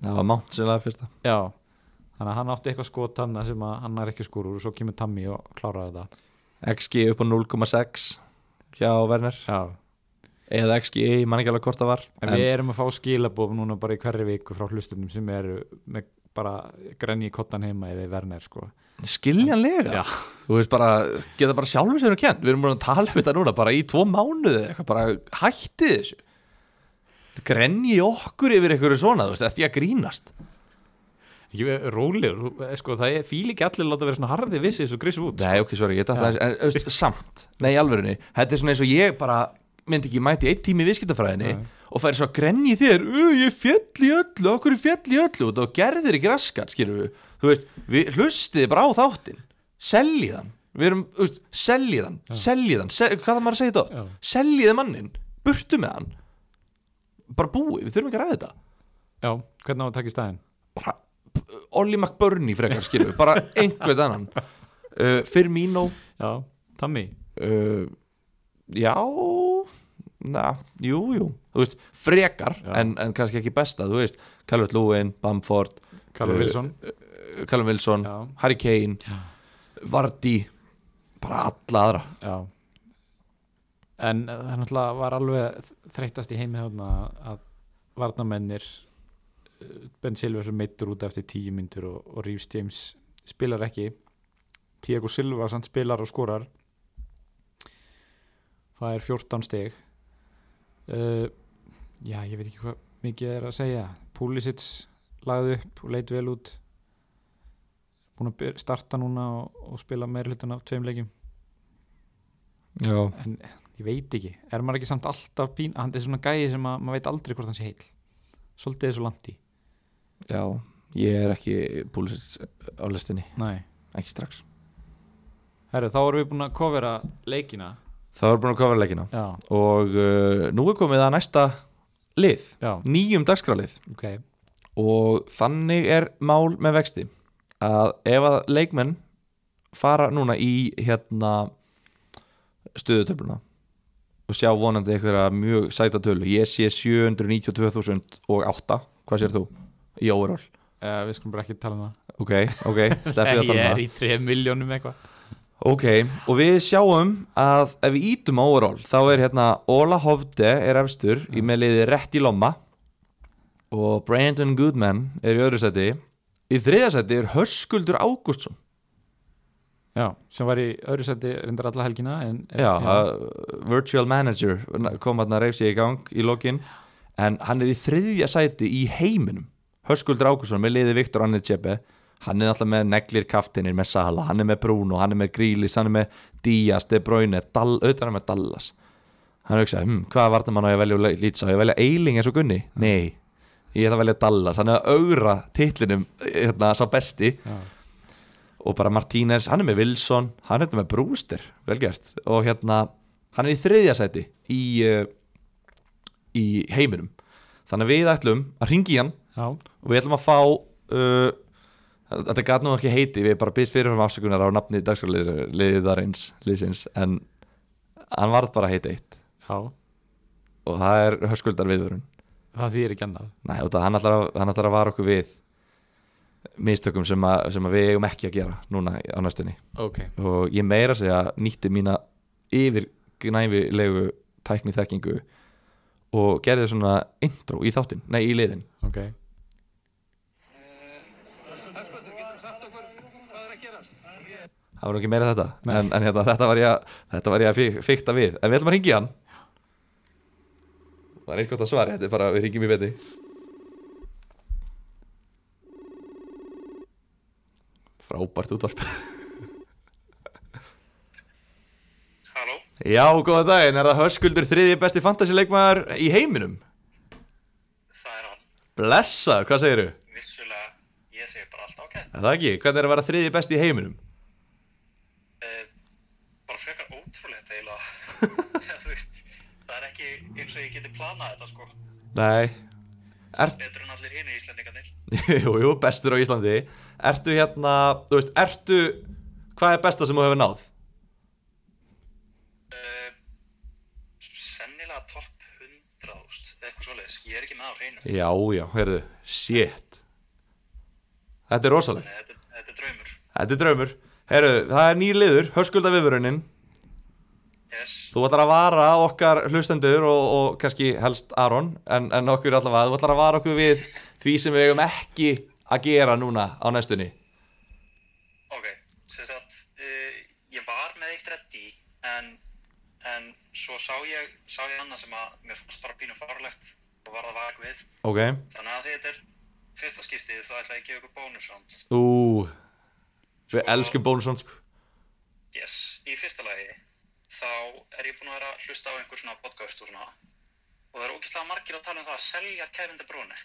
það var mátt sem laði fyrsta
já, þannig að hann átti eitthvað skot hann sem að hann er ekki skúr úr og svo kemur Tammy og klárar þetta
XG upp á 0,6 hjá Werner
já,
eða XG, ég man ekki alveg hvort það var
En við erum að fá skilabóf núna bara í hverri viku frá hlustundum sem eru með bara grenni í kottan heima ef við verner sko.
skiljanlega
Já.
þú veist bara, geta bara sjálfum sér um kent við erum búin að tala um þetta núna bara í tvo mánuði eða eitthvað, bara hætti þessu grenji okkur yfir einhverju svona, þú veist, eftir að grínast
Ég er eh, rólegur, þú- sko, það er fíl ekki allir láta vera svona harði vissi eins og Chris Wood.
nei, ok, sorry, ég datt aðeins, en þú veist, samt nei, í alvörunni, þetta er svona eins og ég bara myndi ekki mæti eitt tími í viðskiptafræðinni
Nei.
og færi svo að grenji þér "Ö, ég fjall í öllu, okkur er fjall í öllu og þú gerðir ekki raskat, skilur við þú veist, við hlustið bara á þáttinn seljið hann, við erum, þú veist, seljið hann, seljið hann, sel, hvað það maður að segja þetta
Já.
oft? seljið mannin, burtu með hann bara búið, við þurfum ekki að ræða þetta
Já, hvernig á að taka í staðin?
bara p- Ollie McBurney frekar, skilur við, bara einhvern annan uh, Firmino
Já, Tammy.
uh, já na, jú, jú þú veist, frekar,
Já.
en, en kannski ekki besta þú veist, Calvert Lewin, Bamford
Callum
Uh,
Wilson.
uh, Callum Wilson,
Já.
Harry Kane Vardy, bara alla aðra
Já. En uh, það náttúrulega var alveg þreytast í heimi þarna að varnamennir uh, Ben Silver er meittur út eftir tíu myndur og, og Reeves James spilar ekki Tiago Silva samt spilar og skorar það er 14 stig uh, já ég veit ekki hvað mikið er að segja Pulisic lagði upp og leit vel út búin að byr- starta núna og, og spila meir hlutan af tveim leikjum
já.
en ég veit ekki, er maður ekki samt alltaf pín, hann er svona gæi sem að, maður veit aldrei hvort hann sé heil svolítið þessu langt í
já, ég er ekki púlisins á listinni,
Nei.
ekki strax
Herru, þá erum við búin að kofera leikina
það var búin að kofra leikina
já,
og uh, nú er komið að næsta lið,
já,
nýjum dagskrálið
ok
og þannig er mál með vexti að ef að leikmenn fara núna í hérna stöðutöfluna og sjá vonandi einhverja mjög sæta tölu ég sé 792.008 hvað sér þú? í overall
uh, við skulum bara ekki tala um það
ok, ok, sleppið
ég
að tala um
er
það
í 3 miljónum eitthvað
ok, og við sjáum að ef við ítum á overall þá er hérna Óla Hofde er efstur í með liði rétt í lomma og Brandon Goodman er í öðru seti í þriðja seti er Hörskuldur Ágústsson
já, sem var í öðru seti reyndar alla helgina en, en,
Já, uh, Virtual Manager kom hann að reyf sig í gang í lokin en hann er í þriðja sæti í heiminum Höskuldur Ákusson með liði Viktor Annið Tjepe hann er alltaf með neglir kaftinir með Sala, hann er með Bruno, hann er með Grílis hann er með Díaz, De Bruyne Dall, auðvitað er hann með Dallas hann hugsaði, hm, hvaða vartum hann á ég að velja úr lýtsa á ég að velja Eiling eins og Gunni? Nei, ég ætla að velja Dallas, hann er að augra titlinum, hérna, sá besti
já.
og bara Martínez, hann er með Wilson hann er þetta með Brewster, velgjast og hérna, hann er í þriðja sæti í, uh, í heiminum þannig að við ætlum að ringi hann
já,
og við ætlum að fá uh, þetta gat nú ekki heiti við bara byrst fyrirfram afsökunar á nafni dagskrálið- liðarins liðsins, en hann varð bara að heita eitt
já
og það er höskuldar viðvörun
það þýðir ekki annað
Nei, og það hann ætlar að, hann ætlar að vara okkur við mistökum sem að, sem að við eigum ekki að gera núna á næstunni
ok,
og ég meira að segja nýtti mína yfir gnæfilegu tækni þekkingu og gerði svona intro í þáttinn, nei í liðin
ok
Höskuldur, getur sagt okkur hvað er að gerast?
það var nú ekki meira þetta en, en hérna, þetta var ég að, þetta var ég að fí- fikta við en við ætlum að ringi hann það er eins gott að svara þetta er bara við ringjum í beti frábært útvarp
Halló?
já, góða daginn, er það Höskuldur þriði besti fantasileikmaður í heiminum
Það er hann.
blessaður, hvað segirðu?
Vissulega, ég segi bara allt ágætt.
Er Það ekki, hvernig er að vera þriði besti í heiminum?
Eh, bara frekar ótrúlegt eiginlega. Þú veist, það er ekki eins og ég geti planað þetta sko.
Nei
Betur en allir hini íslendingarnir.
Jú, jú, bestur á Íslandi Ertu hérna, þú veist, ertu Hvað er besta sem þú hefur náð?
Eh, sennilega topp 100 úst, eitthvað svoleiðis. Ég er ekki með á hreinu.
Já, já, heyrðu, shit Þetta er rosalegt
Nei, þetta, þetta er draumur.
Þetta er draumur Heyrðu, það er nýr liður, hörskulda viðvörunin
Yes.
Þú ætlar að vara okkar hlustendur og, og kannski helst Aron en, en okkur allavega, þú ætlar að vara okkur við því sem við eigum ekki að gera núna á næstunni
Ok, sem sagt, uh, ég var með eitt reddi en, en svo sá ég, sá ég annað sem að mér fannst bara pínu farlegt og var að vaka við.
Ok
Þannig að því þetta er fyrsta skiptið þá ætla ég að gefa ykkur bónus samt.
Ú, við elskum bónusson sko
Yes, í fyrsta lagi þá er ég búinn að vera að hlusta á einhver svona podcast og svona og það eru ógeðslega margir að tala um það að selja Kevin De Bruyne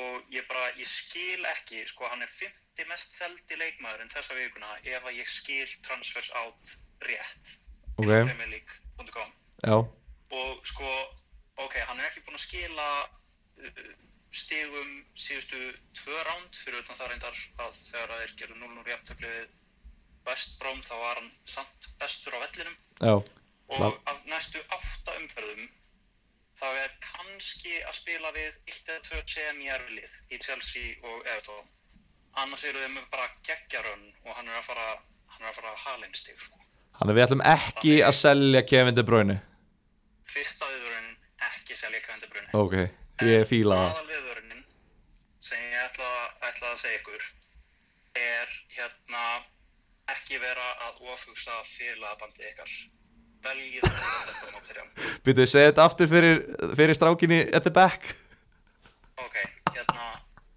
og ég bara, ég skil ekki sko, hann er 50 mest seldi leikmaðurinn þessa vikuna ef að ég skil transfers out rétt
Ok.
premierleague.com
Já,
og sko, ok, hann er ekki búinn að skila uh, stigum síðustu tvö ránd fyrir utan það reyndar að þegar að þeir gerðu 0-0 jafntöfli við West Brom þá var hann samt bestur á vellinum
já,
og
Klart.
af næstu átta umferðum þá er kannski að spila við 1-2 CMR-lið í Chelsea og Everton annars eru þeim bara geggjarönn og hann er að fara hann er að fara að hala einn stig sko.
þannig að við ætlum ekki að selja Kevin De Bruyne
fyrsta viðvörunin ekki selja kævendabrunni
Ok, ég fíla það
aðalviðvörunin sem ég ætla, ætla að segja ykkur er hérna ekki vera að ofugsa félagabandi ykkar veljið að vera besta móttirjum
Býtu, segðu þetta aftur fyrir, fyrir strákinni at the back
ok, hérna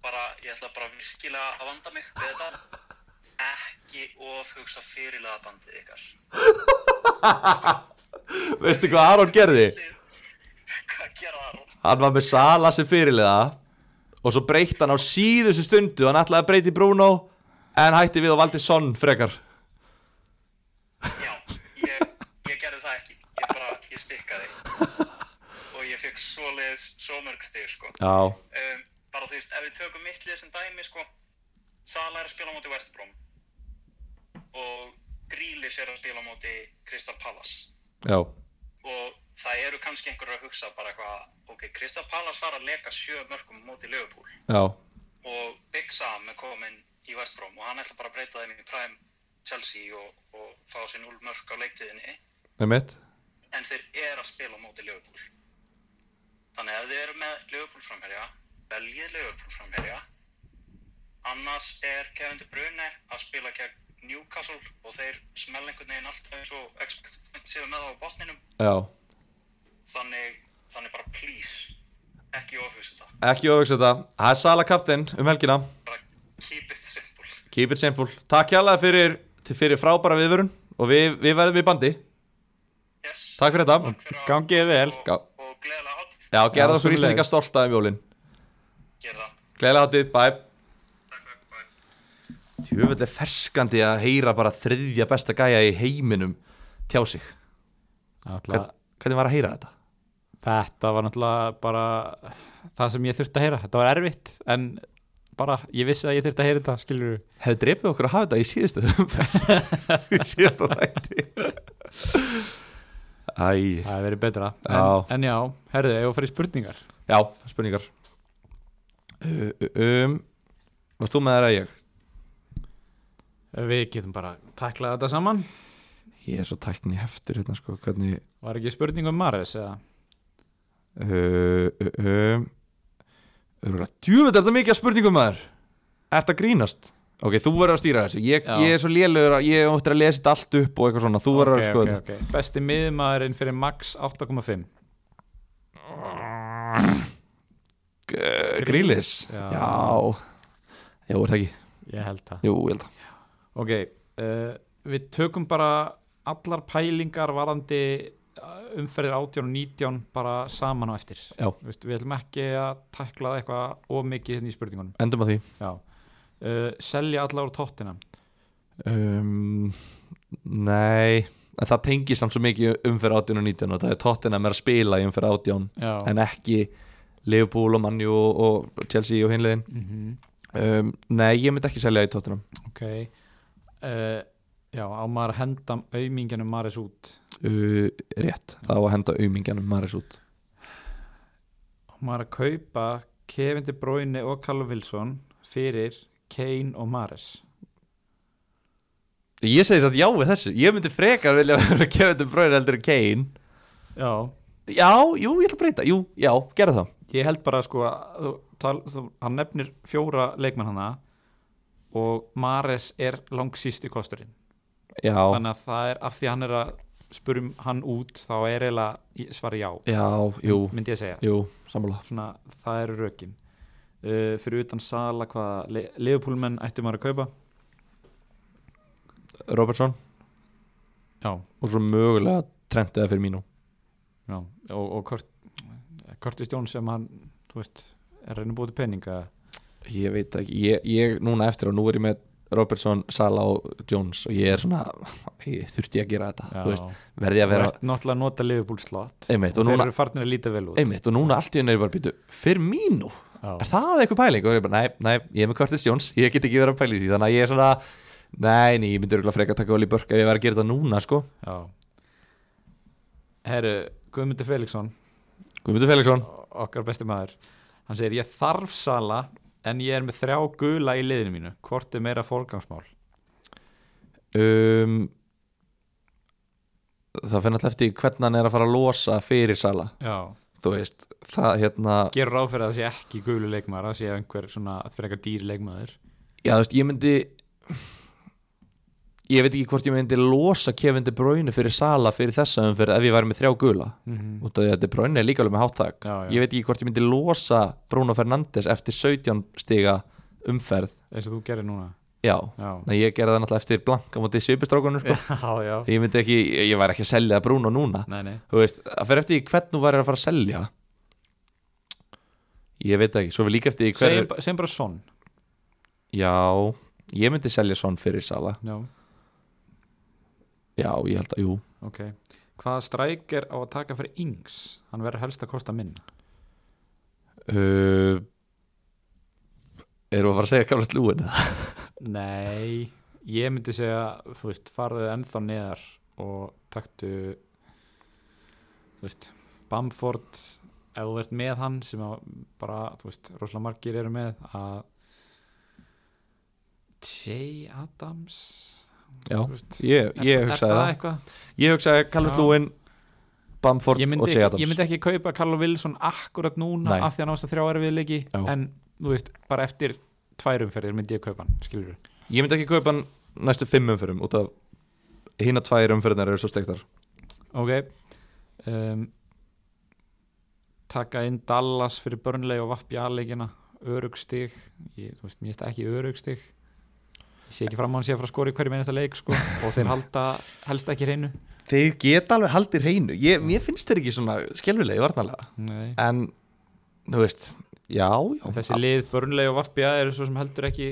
bara, ég ætla bara virkilega að vanda mig við þetta ekki ofugsa félagabandi ykkar
Veistu hvað Aron gerði?
hvað gera það Rún?
Hann var með Sala sem fyrirliða og svo breytti hann á síðustu stundu hann ætlaði að breyti Bruno en hætti við og valdi Son frekar
Já, ég, ég gerði það ekki Ég bara, ég stikkaði Og ég fekk svoleiðis svo mörg stig sko.
Já,
um, Bara þú veist, ef við tökum mitt lið sem dæmi sko, Sala er að spila á móti West Brom Og Grílis er að spila á móti Crystal Palace
já,
Og það eru kannski einhverjur að hugsa bara eitthvað Ok, Crystal Palace var að leka sjö mörgum á móti Liverpool
já,
og Big Sam er kominn í West Brom og hann ætla bara að breyta þeim í Prime Chelsea og, og fá sér 0 mörg á leiktiðinni
með mitt
en þeir eru að spila á móti Liverpool þannig að ef þið eru með Liverpool framherja veljið Liverpool framherja annars er Kevin De Bruyne að spila gegn Newcastle og þeir smell einhvern veginn alltaf eins og expect séu með það á botninum
Já,
þannig, þannig bara please ekki ofis þetta
ekki ofugsa þetta Það er Sala kaptinn um helgina
bara keep it simple
Keep it simple Takk hérlega fyrir, fyrir frábæra viðvörun og við, við verðum í bandi
yes.
Takk fyrir þetta
Gangið vel.
Já.
Og, og gleðilega hátt.
Já, gerða
Já,
okkur
sömuleiðis.
Íslandinga stolt af jólin
Gerðu það.
Gleðilega hátíð, bæ
Takk, takk, bæ.
Tjöfull er ferskandi að heyra bara þriðja besta gæja í heiminum tjá sig
Ætla,
Hvern, Hvernig var að heyra þetta?
þetta var náttúrulega bara það sem ég þurfti að heyra þetta var erfitt en bara ég vissi að ég þurfti að heyra þetta skilur
Hefðu drepið okkur að hafa þetta í síðustu umferð. Í síðasta þætti Æ,
það hefur verið betra
Já.
en, en já, herðu, ég var að fara í spurningar
já, spurningar uh, um, Varst þú með það að ég?
við getum bara taklað þetta saman
Ég er svo tækni heftur hérna sko Hvernig
var ekki spurning um Mares eða
uh, uh, um, Örgulega, djúvill er þetta mikið að spurningum maður Ert að grínast? Ok, þú verður að stýra þessu Ég,
Já.
ég er svo lélugur að ég áttir að lesa þetta allt upp og eitthvað svona Þú verður
Ok,
að skoða
ok, ok. besti miðmaðurinn fyrir max 8,5
þetta G- Grílis?
Já.
Já Jú, er það ekki?
ég held það
Jú, ég held að
Ok, uh, við tökum bara allar pælingar varandi uh, umferðir 18 og 19 bara saman á eftir
Já.
Vist, Við ætlum ekki að tækla það eitthvað of mikið hérna í spurningunum
Endum að því
Já. Uh, Selja allar úr tóttina
Um, nei en það tengir samt svo mikið umferð 18 og 19 og það er tóttina með að spila í umferð 18
Já,
en ekki Liverpool og Manju og, og Chelsea og hinlegin
Mhm,
um, Nei, ég myndi ekki selja í tóttina
ok uh, Já, á maður að henda auminginu Maris út
uh, Rétt, það var að henda aumingjanum Maris út
á maður að kaupa Kevin De Bruyne og Callum Wilson fyrir Kane og Maris
Ég segi satt já við þessu, ég myndi frekar vilja vera kefðið bröður heldur en Kane
Já,
Já, jú, ég ætla að breyta, jú, já, gera það
ég held bara sko að þú, tal, þú, hann nefnir fjóra leikmenn hana og Mares er langsýsti kosturinn
Já,
þannig að það er af því að hann er að spurum hann út þá er eiginlega í- svar já
já, jú,
myndi ég segja,
jú, sammála
svona það eru rökin uh, fyrir utan sala hvaða le leifupúlmenn ætti maður að kaupa
Robertson
já,
og svo mögulega Trent eða fyrir mínu
já og, og Kurt, Curtis Jones sem hann, þú veist er að reyna að búið til peninga
Ég veit ekki, ég, ég núna eftir og nú er ég með Robertson, Sala og Jones og ég er svona, ég þurfti ég að gera þetta þú veist, verði ég að vera
vera... náttúrulega að nota leifupúl slott
Einmitt, og
og þeir
núna-
eru farnir að líta vel út
einmitt og núna allt í henni er ég bara býtu fyrir mínu,
Já.
er það eitthvað pæling og ég er bara, næ, næ, ég er með Curtis Jones ég get ekki verið að pæla í því, þannig að ég er svona næ, nei, ég myndi örgulega freka að taka Oli Börk ef ég verið að gera þetta núna, sko
Já Herru, Guðmundur Felixson
Guðmundur Felixson,
o- okkar besti maður hann segir ég þarf sala en ég er með þrjá gula í liðinu mínu hvort er meira forgangsmál
um það fyrir alltaf eftir hvernig hann er að fara að losa fyrir Sala,
Já.
þú veist það, hérna,
gerur ráð fyrir að það sé ekki gulu leikmaður það sé einhver svona fyrir eitthvað dýri leikmaður
Já, þú veist, ég myndi Ég veit ekki hvort ég myndi losa Kevin De Bruyne fyrir Sala fyrir þessa umferð ef ég væri með þrjá gula
mm -hmm.
út af því að De Bruyne er líka alveg með háttak
Já, já.
Ég veit ekki hvort ég myndi losa Bruno Fernandes eftir 17 stiga umferð
eins og þú gerir núna
Já,
Já,
Nei, ég gerði það náttúrulega eftir blanka múti svipistrákunum sko.
já, já.
Ég myndi ekki, ég væri ekki að selja Bruno núna
Nei, nei.
Þú veist, að fyrir eftir því hvern þú væri að fara að selja Ég veit það ekki, svo við líka eftir því hver...
Segjum, ba- segjum bara sonn
Já, ég myndi selja svon fyrir Sala
Já,
Já, ég held að, jú
ok Hvaða stræk er á að taka fyrir yngs? Hann verður helst að kosta minna
uh, Erum við að fara að segja gamlega slúin eða?
Nei, ég myndi segja þú veist, farðu ennþá neðar og taktu þú veist, Bamford ef þú ert með hann sem að bara, þú veist, rosalega margir eru með að J. Adams
Já,
þú veist,
ég,
er,
ég
er
hugsaði
það
það
eitthvað?
Ég hugsaði gamlega
Já.
slúin Bamford
Ég myndi,
og J.
ekki, ég
Adams
myndi ekki kaupa Karlo Wilson akkurat núna
Nei.
af því að násta þrjá er við leiki
Já.
en, þú veist, bara eftir tværumferðir myndi ég kaupa hann, skilur við
Ég myndi ekki kaupa hann næstu fimm umfyrum út af hinn að tvær umfyrunar eru svo stektar
Ok um, Taka inn Dallas fyrir Burnley og Vappi aðleikina örugstig, ég, þú veist, mér finnst það ekki örugstig ég sé ekki fram á hann sé að fara að skora í hverju mennasta leik sko, og þeir halda helst ekki hreinu
Þeir geta alveg haldið hreinu ég, Mér finnst þeir ekki svona skelfilegi varnalega
Nei.
En, þú veist, já, já
En þessi lið Burnley og Vappi aðeir eru svo sem heldur ekki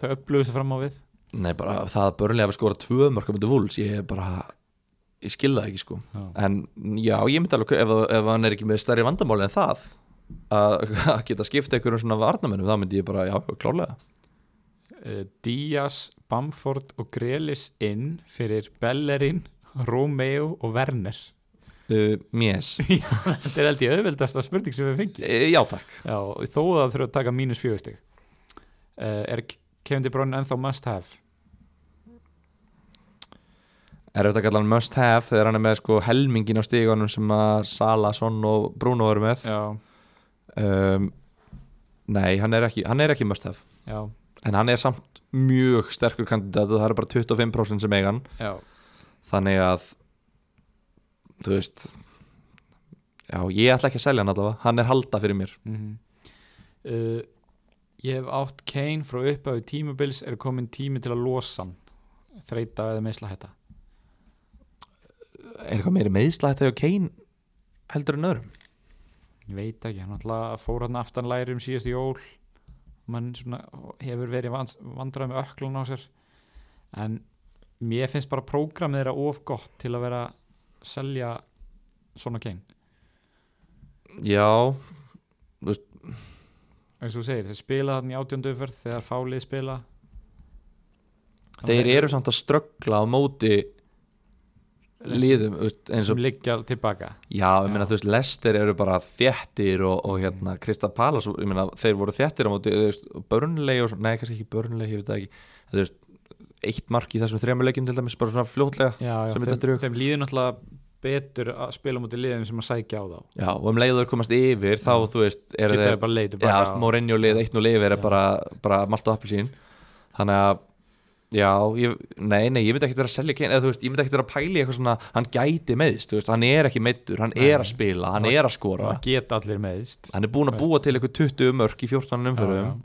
þau upplöðu sig fram á við
Nei, bara það að börnlega að skora tvö mörgum undir vúls, ég er bara ég skil það ekki sko
Já.
en já, ég myndi alveg, ef, ef hann er ekki með stærri vandamáli en það að að geta skipta einhverjum svona varnamennum þá myndi ég bara, já, klálega
uh, Díaz, Bamford og Grelis inn fyrir Bellerin, Romeo og Werner
uh, Mjess
Þetta er held ég auðveldasta spurning sem við fengið
Eh, Já takk
Já, og þó að það þurfa að taka mínus fjögur stig uh, Er Kevin De Bruyne ennþá must have?
Er þetta kallan must have þegar hann er með sko helmingin á stígunum sem að Sala, Son og Bruno eru með
Já,
um, Nei, hann er, ekki, hann er ekki must have
já,
En hann er samt mjög sterkur kandidat og það eru bara 25% sem eiga hann
já
Þannig að Þú veist Já, ég ætla ekki að selja hann allavega Hann er halda fyrir mér
mm uh, Ég hef átt Kane frá upphafi tímubils er komin tími til að losa hann þreita eða meðsla hætta
Er eitthvað meiri meðsla þetta hjá Kane heldur en öðrum?
Ég veit ekki, hann alltaf fór hann aftan læri um síðast jól mann svona hefur verið vans, vandrað með öklan á sér en mér finnst bara prógramið þeirra of gott til að vera selja svona Kane
Já,
eins og þú segir, þeir spila þannig átjöndu umferð þegar fálið spila
þeir eru samt að ströggla á móti liðum þú veist, eins
sem
og,
liggja tilbaka
já, ég meina þú veist, Lester eru bara þjættir og, og
Mm.
hérna, Krista Palas ég meina, þeir voru þjættir á móti þú veist, börnlegi og, svona- nei, kannski ekki börnlegi, ég veit það ekki þú veist, eitt mark í þessum þremur leikjum til dæmis, bara svona fljótlega
já, já,
Sem er þetta
þeim,
drög.
þeim líður náttúrulega betur að spila mútið liðum sem að sækja á þá
já, og um leiður komast yfir, þá, þú veist eru
geta
þeir,
þeir bara leið
já,
tilbaka
þú veist, Mourinho lið eitt nú yfir er
Já.
bara, bara malt og appelsín þannig að Já, ég, nei, nei, ég myndi ekkert vera að selja Kane eða þú veist, ég myndi ekkert vera að pæli eitthvað svona hann gæti meðist, þú veist, hann er ekki meiddur hann
Nei.
er að spila, hann
Og-
er að skora
það geta allir meðist
hann er búin að
Veist.
búa til eitthvað 20 mörk í 14 umförum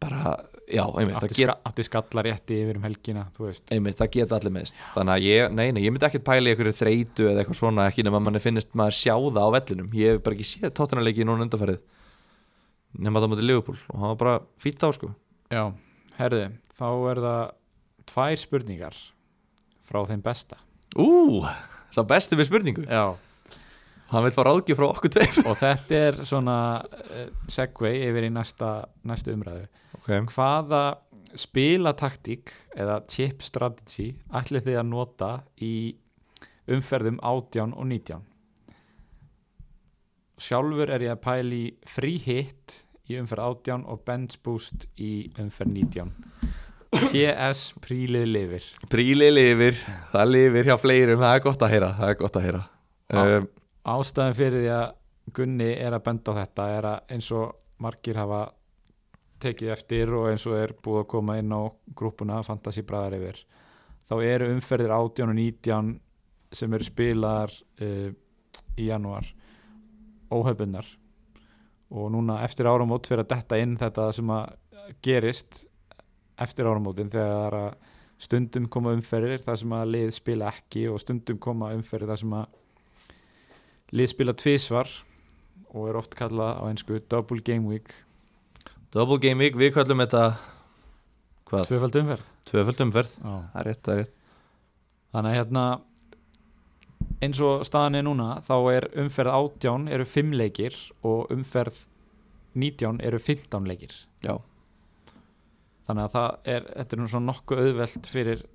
bara, já, einmitt, það
átti,
get,
ska, átti skallar rétti yfir um helgina þú veist,
einmitt það geta allir meðist þannig að ég, nei, nei, ég myndi ekkert pæla í eitthvað þreytu eða eitthvað svona, ekki nema manni finnist maður sjá það á vellinum, ég hef bara ekki séð tóttunarleiki núna undanferðið nema það mútið Liverpool og hann var bara fýtt á sko
já, herðu þá er það tvær spurningar frá þeim besta
Ú, sá besti með spurningu
já
hann vil fá ráðgjöf frá okkur tveir
og þetta er svona uh, segway yfir í næsta, næsta umræðu
okay.
hvaða spilataktík eða chip strategy ætlið þið að nota í umferðum 18 og 19 sjálfur er ég að pæla í free hit í umferð 18 og bench boost í umferð 19 PS prílið lifir
Príli lifir, það lifir hjá fleirum það er gott að heyra, það er gott að heyra
Já.
um,
ástæðan fyrir því að Gunni er að benda á þetta er að eins og margir hafa tekið eftir og eins og er búið að koma inn á grúpuna Fantasy Bræðar yfir þá eru umferðir 18 og 19 sem eru spilaðar uh, í janúar óhefbunnar og núna eftir áramót fyrir að detta inn þetta sem að gerist eftir áramótin þegar að stundum koma umferðir þar sem að lið spila ekki og stundum koma umferðir þar sem að lið spila tvísvar og er oft kallað á einsku double game week
Double Game Week, við kallum þetta hvað?
tvöfald umferð
Tvöföld umferð
Já.
Það er rétt, það er rétt
þannig að hérna eins og staðan er núna þá er umferð 18 eru 5 leikir og umferð 19 eru 15 leikir
Já.
þannig að það er þetta er nú svona nokkuð auðvelt fyrir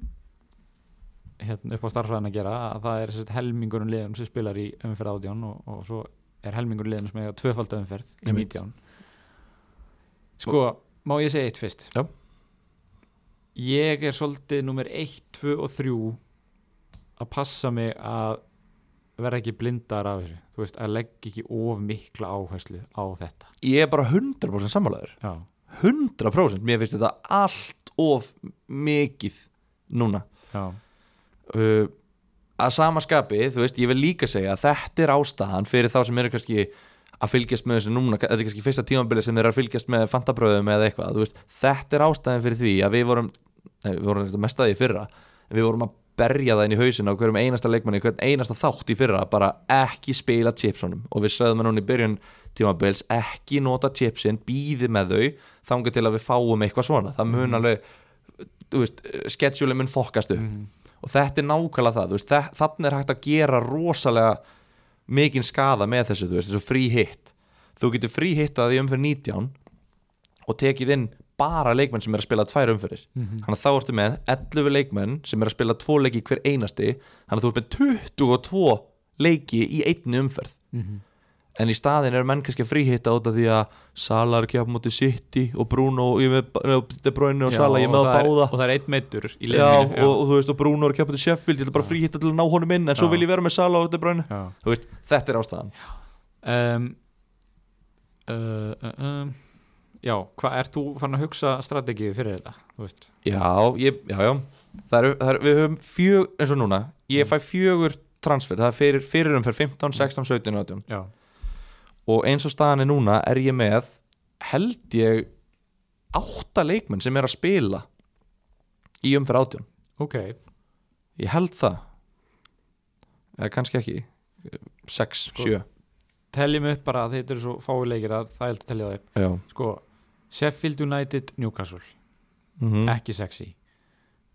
hérna upp á starfræðin að gera að það er sérst helmingurinn liðum um sem spilar í umferð 18 og, og svo er helmingurinn liðum sem eiga tvöfald umferð í
Einmitt.
19 sko, má ég segja eitt fyrst
Já.
ég er svolítið nummer 1, 2 og 3 að passa mig að vera ekki blindar af þessu þú veist, að leggja ekki of mikla áherslu á þetta
Ég er bara 100% sammálaður
já,
100% Mér finnst þetta allt of mikið núna
já,
uh, Að sama skapi, þú veist, ég vil líka segja að þetta er ástæðan fyrir þá sem eru kannski að fylgjast með þessu núna þetta er kannski fyrsta tímambili sem eru að fylgjast með fantabröðum eða eitthvað, þú veist, þetta er ástæðan fyrir því að við vorum, nei, við vorum þetta mest að því í fyrra, en við vorum að berja það inn í hausin á hverjum einasta leikmanni hvern einasta þátt í fyrra, bara ekki spila chipsunum og við sagðum að núna í byrjun tímabils, ekki nota chipsin býði með þau, þanga til að við fáum eitthvað svona, það mun alveg þú veist, schedule mun fokast upp og þetta er nákvæmlega það, þú veist, þa- þannig er hægt að gera rosalega mikinn skada með þessu, þú veist, þessu frí hitt þú getur frí hittað í umfyrir 19 og tekið inn bara leikmenn sem er að spila tvær umfyrir
Mhm.
þannig að þá ertu með 11 leikmenn sem er að spila tvo leiki hver einasti þannig að þú ert með 22 leiki í einni umferð
Mhm.
en í staðin eru menn kannski að fríhitta út af því að Salar kjá mútið City og Bruno ég er með eh, De Bruyne og
Já,
Salah, ég er með að
það er-
báða
og það er einn meittur í
já,
liðinu
og, og þú veist, og Bruno er að kjá mútið Sheffield ég ætla bara að fríhitta til að ná honum inn en svo
Já.
vil ég vera með Salah og De Bruyne
já.
þú veist, þetta er ástæðan
Um, uh, uh, um, já, hvað ert þú fann að hugsa strategið fyrir þetta? Þú veist,
Já, ég, já, já það er, það er, Við höfum fjög, eins og núna Ég fæ fjögur transfer, það er fyrir, fyrir umferð 15, 16, 17, 18
já,
Og eins og staðan er núna er ég með Held ég Átta leikmenn sem er að spila Í umferð 18
ok,
Ég held það Eða kannski ekki 6, 7
teljum upp bara að þetta eru svo fái leikir að það er hægt að telja það upp
Já,
sko, Sheffield United Newcastle,
mm
ekki sexy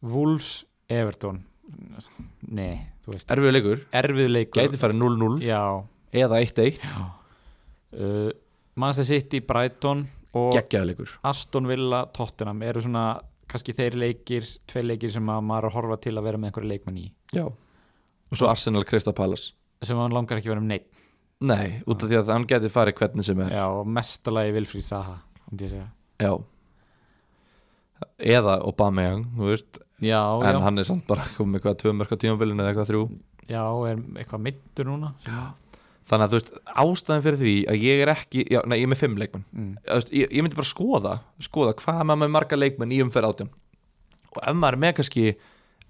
Wolves Everton nei, þú veist
erfiðu leikur
erfið leikur
Gæti farið 0-0
já,
eða 1-1
uh, Manchester City Brighton og
Geggjaðu leikur
Aston Villa Tottenham eru svona kannski þeir leikir, tvei leikir sem að maður er að horfa til að vera með einhverja leikmann í
Já Og svo Arsenal Crystal Palace
sem hann langar ekki að vera með neitt
Nei, út af því að hann geti farið hvernig sem er
já, og mestalagi Vilfríð Saha myndi ég segja.
Já Eða Aubameyang, þú veist
já,
En
já,
hann er samt bara komið með hvað tvö mörka tímabilin eða eitthvað þrjú
já, er eitthvað mittur núna
Þannig að þú veist, ástæðan fyrir því að ég er ekki Já, nei, ég er með fimm leikmenn
mm.
Þú veist, ég, ég myndi bara skoða, skoða hvað er maður með marga leikmenn í umferð átján Og ef maður er með kannski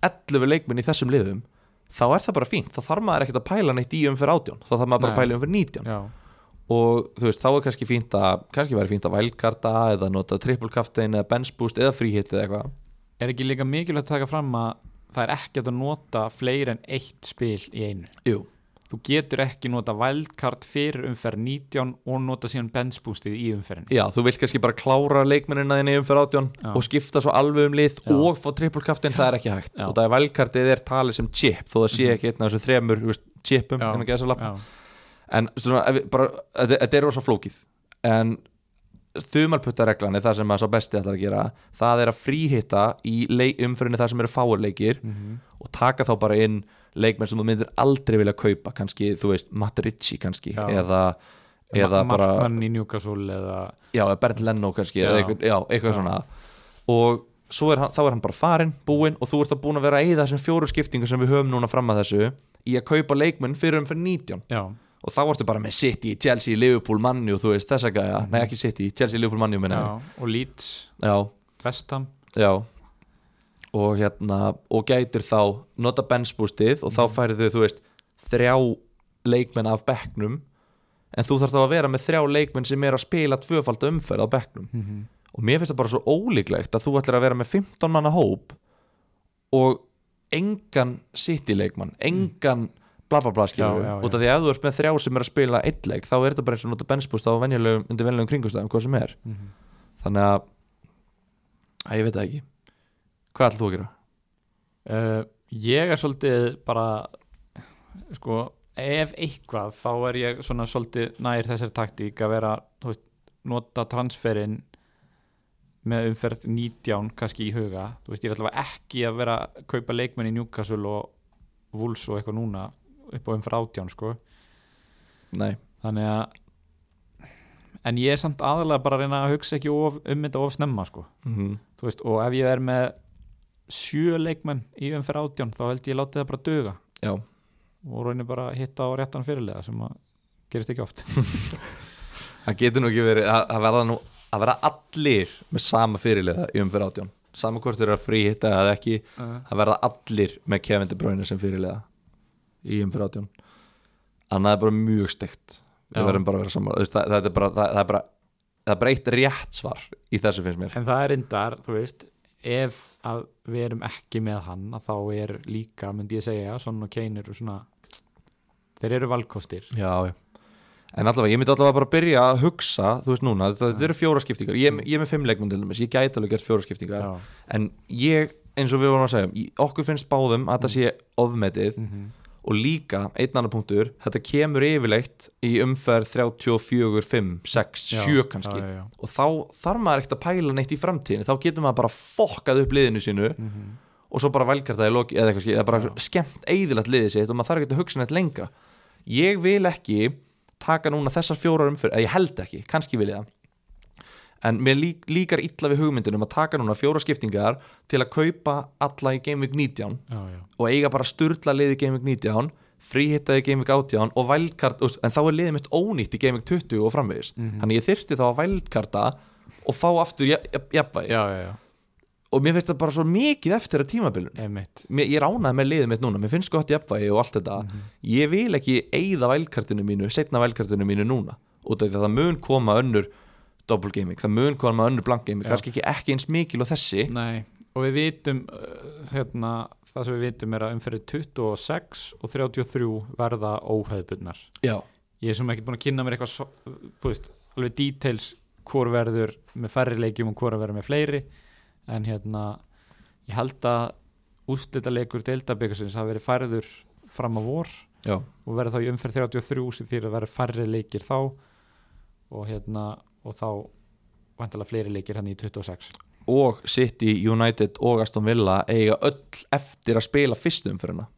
11 leikmenn í þessum liðum Þá er það bara fínt, þá þarf maður ekkert að pæla neitt í umferð átján Þá þarf maður bara að
Nei.
pæla í umferð 19
já,
og þú veist, þá er kannski fínt að kannski væri fínt að vælkarta eða nota trippulkaftein eða bensbúst eða fríhitt eða eitthvað
er ekki líka mikilvægt að taka fram að það er ekkert að nota fleiri en eitt spil í einu
Jú.
þú getur ekki nota wildcard fyrir umferð 19 og nota síðan benchboostið í umferðinni
Já, þú vilt kannski bara klára leikmennina þín í umferð átján
Já.
og skipta svo alveg um lið
Já.
og fá trippulkaftein, það er ekki hægt
Já. Mhm.
og það er vælkartið er talið sem chip þó það sé ekki einn af þessum þremur þú veist, chipum
Já.
innan gæsalappa.
Já.
en svona, ef við bara, þetta þetta er rosa flókið en þumalputtareglan er það sem að sá besti ætlar að gera það er að fríhitta í leik- umferðinni það sem eru fáurleikir
Mhm.
og taka þá bara inn leikmenn sem þú myndir aldrei vilja kaupa kannski, þú veist, Matt Ritchie kannski
Já.
eða, eða
Ma-
bara
markmann í Newcastle eða
já, eða Bernd Leno kannski
Já.
eða eitthvað, já, eitthvað svona og svo er hann, þá er hann bara farinn, búinn og þú ert að búin að vera að eyða þessum fjóru skiptingu sem við höfum núna fram að þessu í að kaupa leikmenn fyrir um fyrir 19
já,
og þá ertu bara með City, Chelsea, Liverpool, Manni og þú veist þessa gæja, nei ekki City, Chelsea, Liverpool, Manni
já,
minna,
og Leeds
já,
Vestam
já og hérna, og gætir þá nota benchboostið og þá færðu þú veist þrjá leikmenn af bekknum en þú þarf þá að vera með þrjá leikmenn sem er að spila tvöfald umferð á bekknum og mér finnst það bara svo ólíklegt að þú ætlar að vera með 15 manna hóp og engan city leikmann, engan bla bla bla
Já,
skilur
já, já.
út af því að ef þú ert með þrjá sem er að spila eitt leik þá er þetta bara eins og nota benchbúst á venjulegum, undir venjulegum kringustæðum, hvað sem er
Mhm.
þannig að að ég veit það ekki hvað ætlar þú að gera?
uh, ég er svolítið bara sko, ef eitthvað þá er ég svona svolítið nær þessari taktík að vera, þú veist, nota transferinn með umferð 19 kannski í huga þú veist, ég er allavega ekki að vera að kaupa leikmenn í Newcastle og Wolves og eitthvað núna upp á umferð 18 sko
Nei,
þannig að en ég er samt aðalega bara að reyna að hugsa ekki of, um þetta of snemma sko
mm
Þú veist, og ef ég er með sjö leikmenn í umferð átján þá held ég látið það bara duga
já
og raunir bara að hitta á réttan fyrirlega sem að gerist ekki oft
það getur nú ekki verið að, að verða nú að vera allir með sama fyrirliða í umfyrir átján sama hvort þeir eru að fríhitta eða ekki að verða allir með Kevin De Bruyne sem fyrirlega í umfyrir átján annað er bara mjög steikt
Já.
við verðum bara að vera saman það, það, er bara, það, það er bara það er bara eitt rétt svar í þessu finnst mér
en það er reyndar, þú veist ef að við erum ekki með hann að þá er líka, myndi ég segja Son og Kane eru svona þeir eru valkostir
já, já En allavega, ég myndi allavega bara að byrja að hugsa, þú veist núna, þetta, þetta eru fjóra skiptingar, ég, ég er með fimm leikmenn til dæmis, ég gæti alveg gert fjóra skiptingar,
Mm. Já.
en ég, eins og við vorum að segja í- okkur finnst báðum að það
Mm.
sé ofmetið
Mhm.
og líka einn annar punktur, þetta kemur yfirleitt í umferð 34, 5, 6,
Já,
7 kannski
já, já, já.
og þá þarf maður ekkert að pæla neitt í framtíðin þá getur maður bara fokkað upp liðinu sínu og svo bara velkartaði loki eða, eitthvað, skil- eða bara skemmt eðilagt liðið sitt og maður þarf ekki að hugsa neitt lengra ég vil ekki taka núna þessar fjórar umferð eða ég held ekki, kannski vil ég það en mér lík, líkar illa við hugmyndunum að taka núna fjóra skiptingar til að kaupa alla í Game Week 19
já, já,
og eiga bara sturla liði Game Week 19 fríhittaði Game Week 18 og vældkart, en þá er liðið mitt ónýtt í Game Week 20 og framvegis,
Mhm.
þannig ég þyrfti þá að vældkarta og fá aftur ja- ja- jafnvægi
já, já, já.
og mér finnst það bara svo mikið eftir að tímabilun
emitt
mér, ég ránaði með liðið mitt núna, mér finnst gott jafnvægi og allt þetta
Mhm.
ég vil ekki eigða vælkartinu mínu, setna vælkartinu mínu núna út af því að það mun koma önnur double gaming, það mun koma önnur blank gaming
Já.
kannski ekki, ekki eins mikil og þessi
Nei, og við vitum uh, hérna, það sem við vitum er að umferðið 26 og 33 verða óhæðbundnar
já,
ég er sem ekki búin að kynna mér eitthvað svo- þú veist, alveg details hvort verður með færri leikjum og hvort verður með fleiri en hérna ég held að úslita leikur deildabikarsins hafi verið færður fram á vor
já,
og verður þá í umferð 33 sem þýr að verða færri leikir þá og hérna og þá vantilega fleiri leikir hann í 26
og City, United og Aston Villa eiga öll eftir að spila fyrstum fyrir hana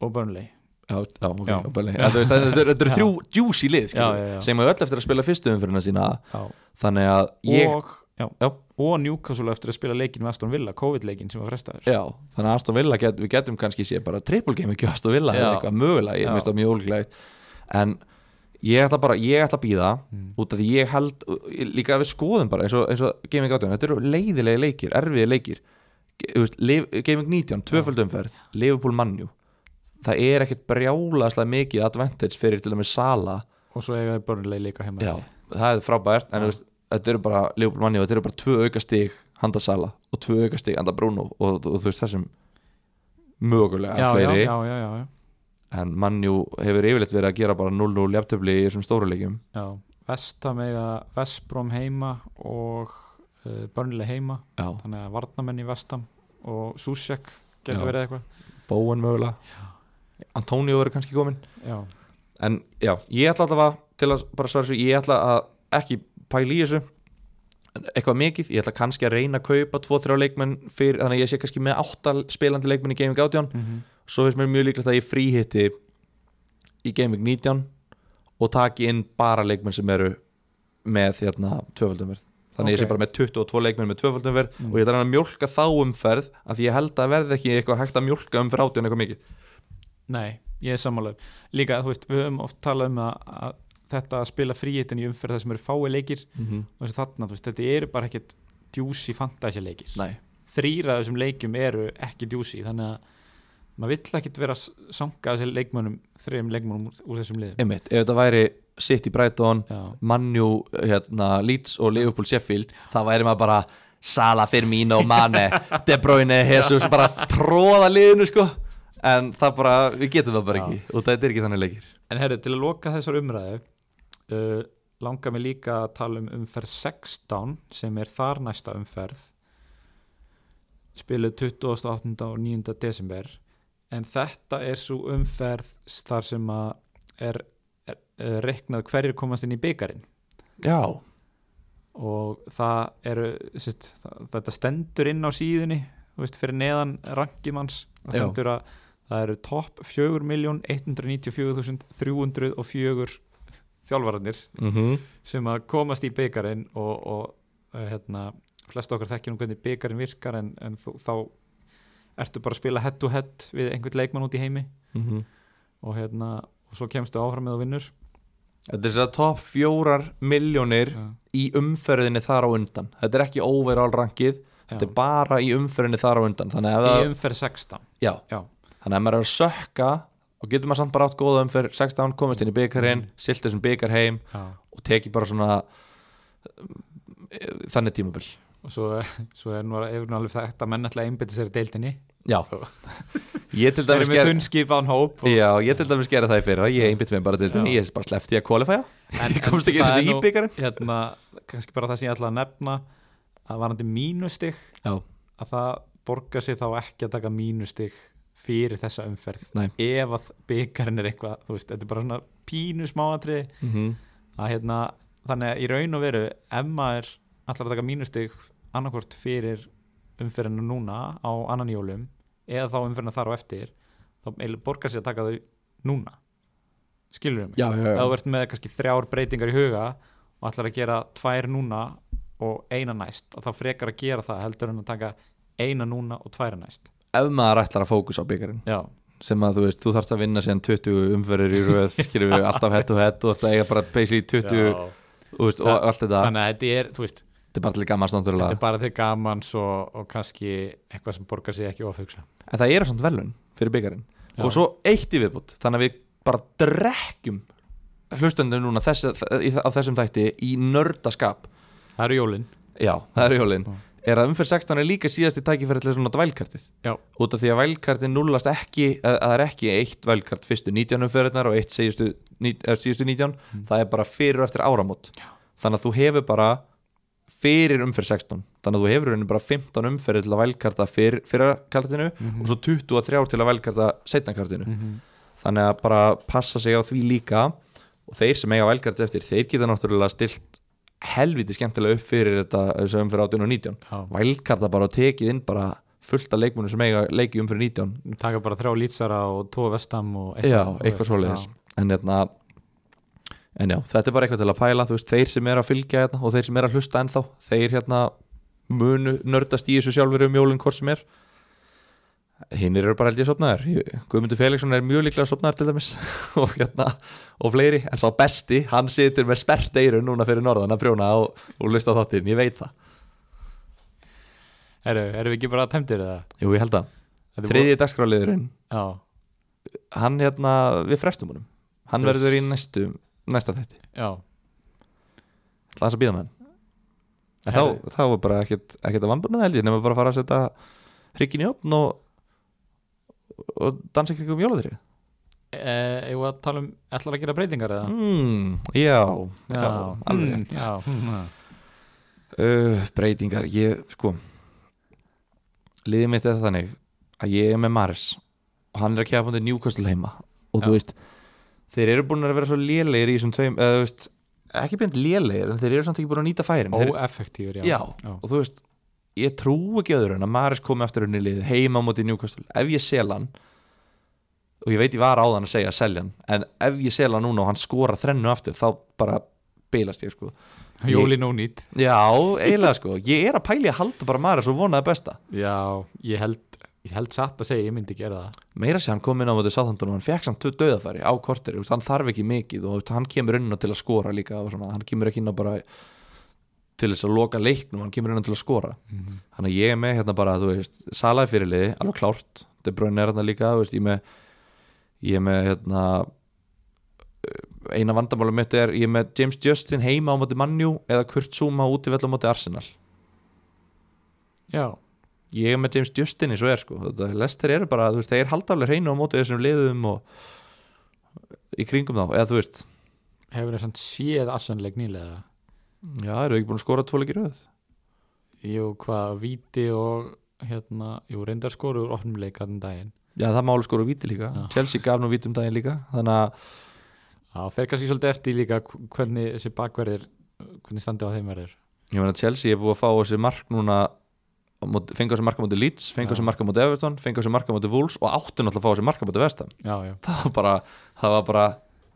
og Burnley
Já, já, ok,
Já.
já. Bara, já, þú veist, þetta þetta- þetta eru þrjú juicy lið skilur,
Já, já, já.
sem eiga öll eftir að spila fyrstu umfyrirna sína þannig að ég
og, já,
Já.
og Newcastle á eftir að spila leikin með Aston Villa, COVID-leikin sem var frestaður
Já, þannig að Aston Villa get, við getum kannski sé bara triple game ekki Aston Villa
Já.
eða eitthvað mögulega, ég
Já.
minnst það mjög ólíklegt en ég ætla bara, ég ætla að býða
Mm.
út af því ég held, líka að við skoðum bara eins og, eins og Gaming 18, þetta eru leiðilegi leikir erfiði leikir Ge- þú veist, Liv- Gaming 19, tvöföldumferð Liverpool mannjú, það er ekkert brjálaðslega mikið advantage fyrir til dæmis Sala
og svo eigaði Burnley líka heima
Já, það er frábært en þú veist, þetta eru bara Leopold Manni og þetta eru bara tvö auka stig handa Sala og tvö auka stig handa Bruno og, og, þú veist þessum mögulega
já, já,
fleiri
já, já, já, já.
en Manni hefur yfirleitt verið að gera bara 0-0 jafntöfli í þessum stóru leikjum
Já, Vestam eiga Vestbrom heima og uh, Burnley heima
Já,
þannig að varnamenn í Vestam og Susek
Já.
getur verið eitthvað
Bóen mögulega Antonio verður kannski komin
Já,
en já, ég ætla allavega til að bara svara þessu, ég ætla að ekki pæla í þessu eitthvað mikið, ég ætla kannski að reyna að kaupa 2-3 leikmenn fyrir, þannig að ég sé kannski með 8 spilandi leikmenn í Gaming 18
mm
svo finnst mér mjög líklegt að ég fríhitti í Game Week 19 og taki inn bara leikmenn sem eru með hérna tvöföldumverð þannig ég sé
Ok.
bara með 22 leikmenn með tvöföldumverð
Mm.
og ég þarf að mjólka þá umferð af því ég held að verði ekki eitthvað hægt að mjólka umferð átján eitthvað mikið
nei, ég er sammálaður Líka, þú veist, við höfum oft talað um að, að þetta að spila fríhitin í umferð það sem eru fái leikir og þessi þarna, þú veist, þetta eru bara ekkit djúsi fantasy leikir
Nei,
Þrýra þessum leikjum eru ekki djúsi þannig að maður vill ekkit vera sanga þessi leikmönnum, þrejum leikmönnum úr, úr þessum liðum
einmitt, ef þetta væri City Brighton,
Já,
Manju hérna, Leeds og Liverpool Sheffield þá væri maður bara Sala, Firmino, Mane De Bruyne, Jesus bara tróða liðinu sko en það bara, við getum það bara
Já.
ekki og þetta er ekki þannig leikir
En herru, til að loka þessar umræðu uh, langar mig líka að tala um umferð 16 sem er þar næsta umferð spiluð 28. og 9. desember en þetta er svo umferð þar sem að er, er, er reiknað hverjir komast inn í byggarinn
Já,
og það eru sérst, það- þetta stendur inn á síðunni þú veist, fyrir neðan rankimanns það
Já.
stendur að það eru topp 4.194.304 þjálfararnir
mm -hmm.
sem að komast í byggarinn og, og uh, hérna, flest okkar þekkir nú hvernig byggarinn virkar en, en þú, þá ertu bara að spila head to head við einhvern leikmann út í heimi
mhm.
og hérna og svo kemstu áfram með og vinnur
Þetta er þess að topp fjórar miljónir
Já.
í umferðinni þar á undan þetta er ekki overall rankið þetta er bara í umferðinni þar á undan þannig að,
í um-
það,
umferð 16
já,
já,
þannig að ef maður er að sökka og getur maður samt bara átt góða umferð 16 komist inn í byggarinn, mm. silt þessum byggar heim
já.
og teki bara svona eh, þannig tímabil
og svo, svo er nú ef nú alveg þetta menn alltaf einbytti sér í deildinni
já ég til
þeir
dæmis
eru með
ger,
þunnskipaðan hóp og,
já, ég til dæmis gera það í fyrra ég einbytt mér bara til þenni,
Já.
ég er bara sleppt því að kvalifæja
en,
ég komst ekki
það er
eins og
nú,
í byggarinn
hérna, kannski bara það sem ég ætla að nefna að varandi mínustig
já,
að það borgar sig þá ekki að taka mínustig fyrir þessa umferð
Nei.
ef að byggarinn er eitthvað þú veist, þetta er bara svona pínu smáatri
mm
að hérna, þannig að í raun og veru ef maður ætlar að taka mínustig annarkvort fyrir umferðinu núna á annan jólum eða þá umferðinu þar á eftir þá eiginlega borgar sig að taka þau núna skilur við mig
já, já,
ef þú ert með kannski þrjár breytingar í huga og ætlar að gera tvær núna og eina næst að þá frekar að gera það heldur en að taka eina núna og tvær næst
ef maður ætlar að fókusa á byggarinn
já,
sem að þú veist, þú þarfst að vinna síðan 20 umferðir í röð, skilur við alltaf hett og hett og þetta eiga bara basically 20
já.
þú veist, og allt þetta,
þannig að þetta er, þú veist
þetta er bara til gammast
þetta er
náttúrulega,
bara til gamans og, og kannski eitthvað sem borgar sig ekki ofugsa
en það eru samt velun fyrir byggarinn,
Já.
og svo eitt í viðbútt þannig að við bara drekkjum hlustandi núna þess, í- á þessum þætti í nördaskap
það eru jólin
já, það er jólin,
Já.
er að umferð 16 er líka síðasti tækifæri til svona dvælkartið
já,
út af því að vælkartin nullast ekki að að það er ekki eitt vælkart fyrstu 19 umferðinar og eitt síðustu, ní- eða síðustu 19
Mm.
það er bara fyrir og eftir áramót
Já.
þannig að þú hefur bara fyrir umferð 16 þannig að þú hefur í rauninni bara 15 umferði til að vælkarta fyr, fyrir kartinu og svo 23 til að vælkarta setna kartinu þannig að bara passa sig á því líka og þeir sem eiga vælkart eftir þeir geta náttúrulega stilt helviti skemmtilega upp fyrir þetta þessu umferð 18 og 19
já.
vælkarta bara og tekið inn bara fullt af leikmunum sem eiga leiki um fyrir 19
taka bara þrjá lýtsara og tvo vestam og
já, eitthvað svoleiðis
Já.
en, hérna, en já, þetta er bara eitthvað til að pæla þú veist, þeir sem er að fylgja hérna og þeir sem er að hlusta ennþá þeir hérna munu nördast í þessu sjálfur um jólinn hvort sem er hinn eru bara held ég sopnaðar Guðmundur Felixson er mjög líklega sopnaðar til dæmis og hérna og fleiri, en sá besti, hann situr með spert eiru núna fyrir norðan að prjóna og, og hlusta á þáttinn, ég veit það
Heyrðu, erum við ekki bara tæmdir eða?
Jú, ég held það,
Þetta er
þriðji dagskráliðurinn
búið- já,
hann hérna, við frestum honum hann
Yes.
verður í næstu, næsta þætti
já,
ætla hans að býða með hann en
Herðu.
þá, þá er bara ekkert, ekkert að vannbúna held ég nema bara að fara að setja hryggin í opn og, og dansa krigum jólaðri
e, ég var að tala um ætlar að gera breytingar eða?
mm, já, já,
mm,
alveg
já, mm,
uh, breytingar, ég sko liðið mitt er þannig að ég er með Mars og hann er að kjæða búin til Newcastle heima og
Já.
þú veist, þeir eru búin að vera svo lélegir í þessum tveim, eða þú veist ekki beint lélegir, en þeir eru samt ekki búin að nýta færin þeir,
óeffektífur, já.
já,
já.
og þú veist ég trú ekki öðru en að Maris komi aftur inn í lið heima á móti Newcastle, ef ég sel hann og ég veit ég var áðan að segja að selja hann, en ef ég sel hann núna og hann skora þrennu aftur, þá bara bilast ég sko
Jólin ónýtt
Já, eiginlega sko, ég er að pæli að halda bara Maris og vona það besta
Já, ég held, ég held satt að segja ég myndi gera það
Meira sé hann kom inn á móti sáþandun og hann fekk samt tvö döðafæri á korteri, þú veist, hann þarf ekki mikið og þú veist, hann kemur inn á til að skora líka og svona, hann kemur ekki inn á bara til þess að loka leiknum, hann kemur inn á til að skora Þannig að ég er með hérna bara, þú veist, salaði fyrirliði, alveg klárt De Bruyne er hérna líka, þú veist, ég er með ég er með hérna eh, eina vandamálum mitt er ég er með James Justin heima á móti Mannjú eða Kurt Zuma úti á móti Arsenal
Já,
ég er með James Justin eins og er sko Þetta- Leicester eru bara, þú veist, þeir halda alveg hreinu á móti þessum liðum og í kringum þá, eða þú veist
hefur það samt séð assanleik nýlega
já, eru ekki búin að skora tvo leiki í röð
Jú, hvað, víti og hérna, jú, reyndar skoru úr opnum leik hann daginn
já, það máli skora víti líka,
Já.
Chelsea gaf nú víti um daginn líka þannig að,
Já, fer kannski svolítið eftir líka hv- hvernig þessi bakverðir hvernig standi á þeim verður
ég meina Chelsea er búin að fá þessi mark núna á móti- fengu þessi marka móti Leeds, fengu
Já.
þessi marka móti Everton fengu þessi marka móti Wolves og áttu náttúrulega að fá þessi marka móti Vestam
Já, já,
það var bara, það var bara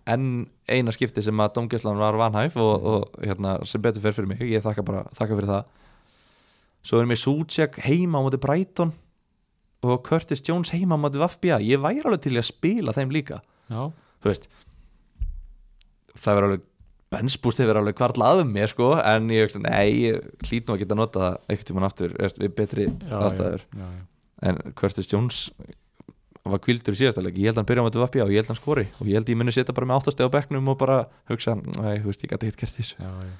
enn eina skipti sem að domgæslan var vanhæf
Mhm.
og, og hérna, sem betur fer fyrir mig ég þakka bara, þakka fyrir það svo erum við Sútsjak heima á móti Brighton og Curtis Jones heima á móti Vafbja, ég væri alveg til í að spila þeim líka,
já,
þú veist það verður alveg bensbúst hefur alveg kvarla að mér sko en ég, hugsa, nei, ég hlýt nú að geta nota það einhvern tímann aftur, veist, við betri
já,
aðstæður
já, já, já.
en Curtis Jones var kvildur í síðasta leik ég held að hann byrja á þetta vapja og ég held að hann skori og ég held að ég muni setja bara með áttasteg á bekknum og bara hugsa, nei, þú veist, ég gæti hitt gert þessu
Já, já.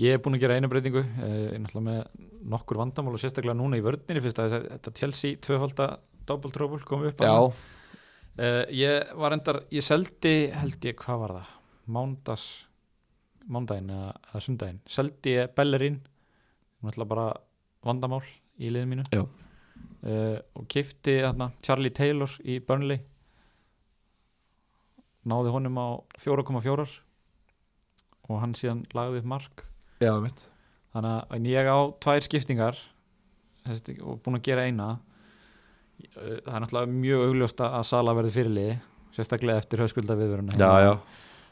Ég er búin að gera eina breytingu eh, náttúrulega með nokkur vandamál og sérstaklega núna í vördninni fyrst að þetta Chelsea tvöfalda double trouble kom upp
já,
að Uh, ég var endar, ég seldi held ég, hvað var það? Mándas mándaginn eða, eða sundaginn seldi ég Bellerín náttúrulega bara vandamál í liðinu mínu
Já.
Uh, og kifti þarna, Charlie Taylor í Burnley náði honum á 4,4 og hann síðan lagði upp mark
já, mitt
þannig að en ég á tvær skiptingar þessi, og búin að gera eina Eh, það er náttúrulega mjög augljóst að Sala verði fyrirliði sérstaklega eftir höskulda viðvöruna
já, já,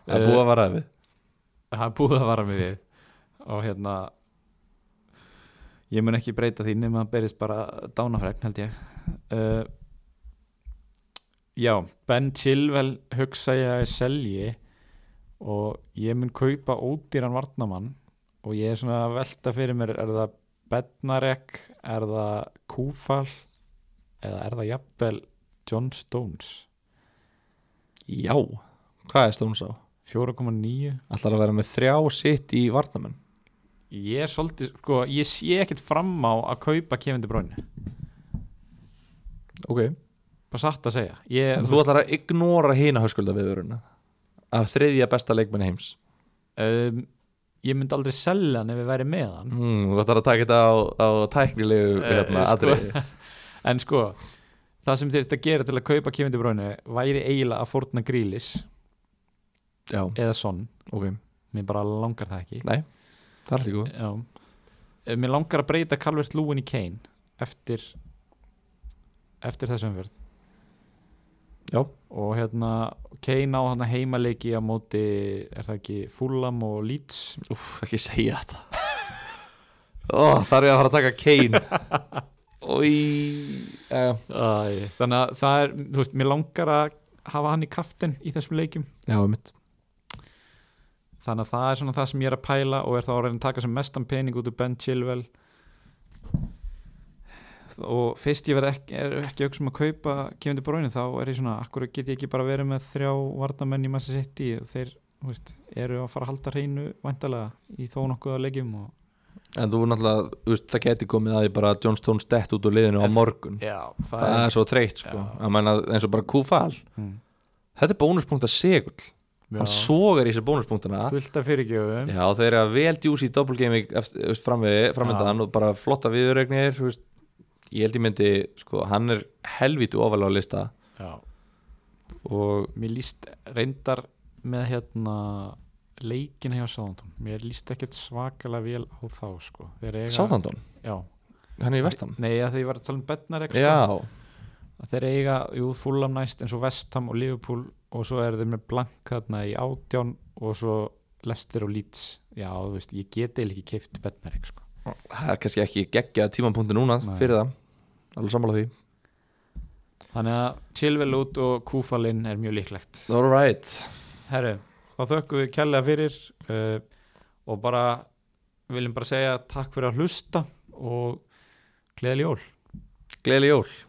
það er búið að vara við
það er búið að vara mig við og hérna ég mun ekki breyta því nema að berist bara dánafregn held ég uh, já Ben Chilwell hugsa ég að ég selji og ég mun kaupa ódýran varnamann og ég er svona að velta fyrir mér er það Bednarek er það Kúfal eða er það jafnvel John Stones
já, hvað er Stones á?
4,9
Ætlar að vera með þrjá sitt í varnamenn
Ég er svolítið, sko, ég sé ekkert fram á að kaupa Kevin De Bruyne
ok,
bara satt að segja ég,
en þú ætlar að ignora hina höskulda viðvöruna af þriðja besta leikmenn heims
um, ég myndi aldrei selja hann ef ég væri með hann
mm, þú ætlar að taka þetta á, á tæknilegu
Eh,
hérna,
sko.
atriði.
en sko, það sem þér að gera til að kaupa Kevin De Bruyne væri eiginlega að forna grílis
já,
eða sonn,
ok,
mér bara langar það ekki
nei það er alltaf góð
Já. Eh, mér langar að breyta Calvert Lúin í Kane eftir eftir þessum fyrir
já,
og hérna Kane á hérna heimaleiki á móti, er það ekki Fulham og Leeds
Úf, ekki segja þetta Ó, þar er ég að fara að taka Kane Í, uh,
Æ. þannig að það er, þú veist, mér langar að hafa hann í kaftin í þessum leikum
Já, mitt
þannig að það er svona það sem ég er að pæla og er þá að reyna að taka sem mestan pening út úr Ben Chilwell og fyrst ég verð ekki, er ekki auksum að kaupa kemur til bróinu þá er ég svona akkur get ég ekki bara verið með þrjá varnamenn í Massa City og þeir þú veist, eru að fara að halda hreinu vandalega í þó nokkuða leikjum og
En þú náttúrulega, þú veist, það geti komið að því bara að John Stones dett út úr liðinu á
Ef-
morgun
Já, það,
Það er svo þreytt, sko
Já.
Ég meina, eins og bara kúfal
mm,
Þetta er bónuspunkta segull Hann
já,
sogar í þessi bónuspunktana
fullt af fyrirgjöfum
Já, þeir eru að vel djúsi í doppelgaming framöndan og bara flotta viðurregnir þú veist. Ég held ég myndi, sko, hann er helvítu ofalega á lista
já.
og
mér líst reyndar með hérna leikin hjá Sáðantón mér líst ekkert svakalega vel á þá sko. Þeir eiga-
Sáþandón,
Já.
hann er í vestam
Nei, að þegar ég var að tala um Bednarek sko.
Já,
Að þeir eiga, jú, Fulham næst en svo Vestham og Liverpool og svo er þeir með blank þarna í átján og svo Leicester og Leeds Já, þú veist, ég get eil ekki keift Bednarek sko.
það er kannski ekki geggja tímapunkti núna
Nei.
fyrir það alveg sammála því
Þannig að Chilwell út og Kúfalinn er mjög líklegt
All right,
Herru, þá þökkum við kærlega fyrir uh, og bara viljum bara segja takk fyrir að hlusta og gleðileg jól
gleðileg jól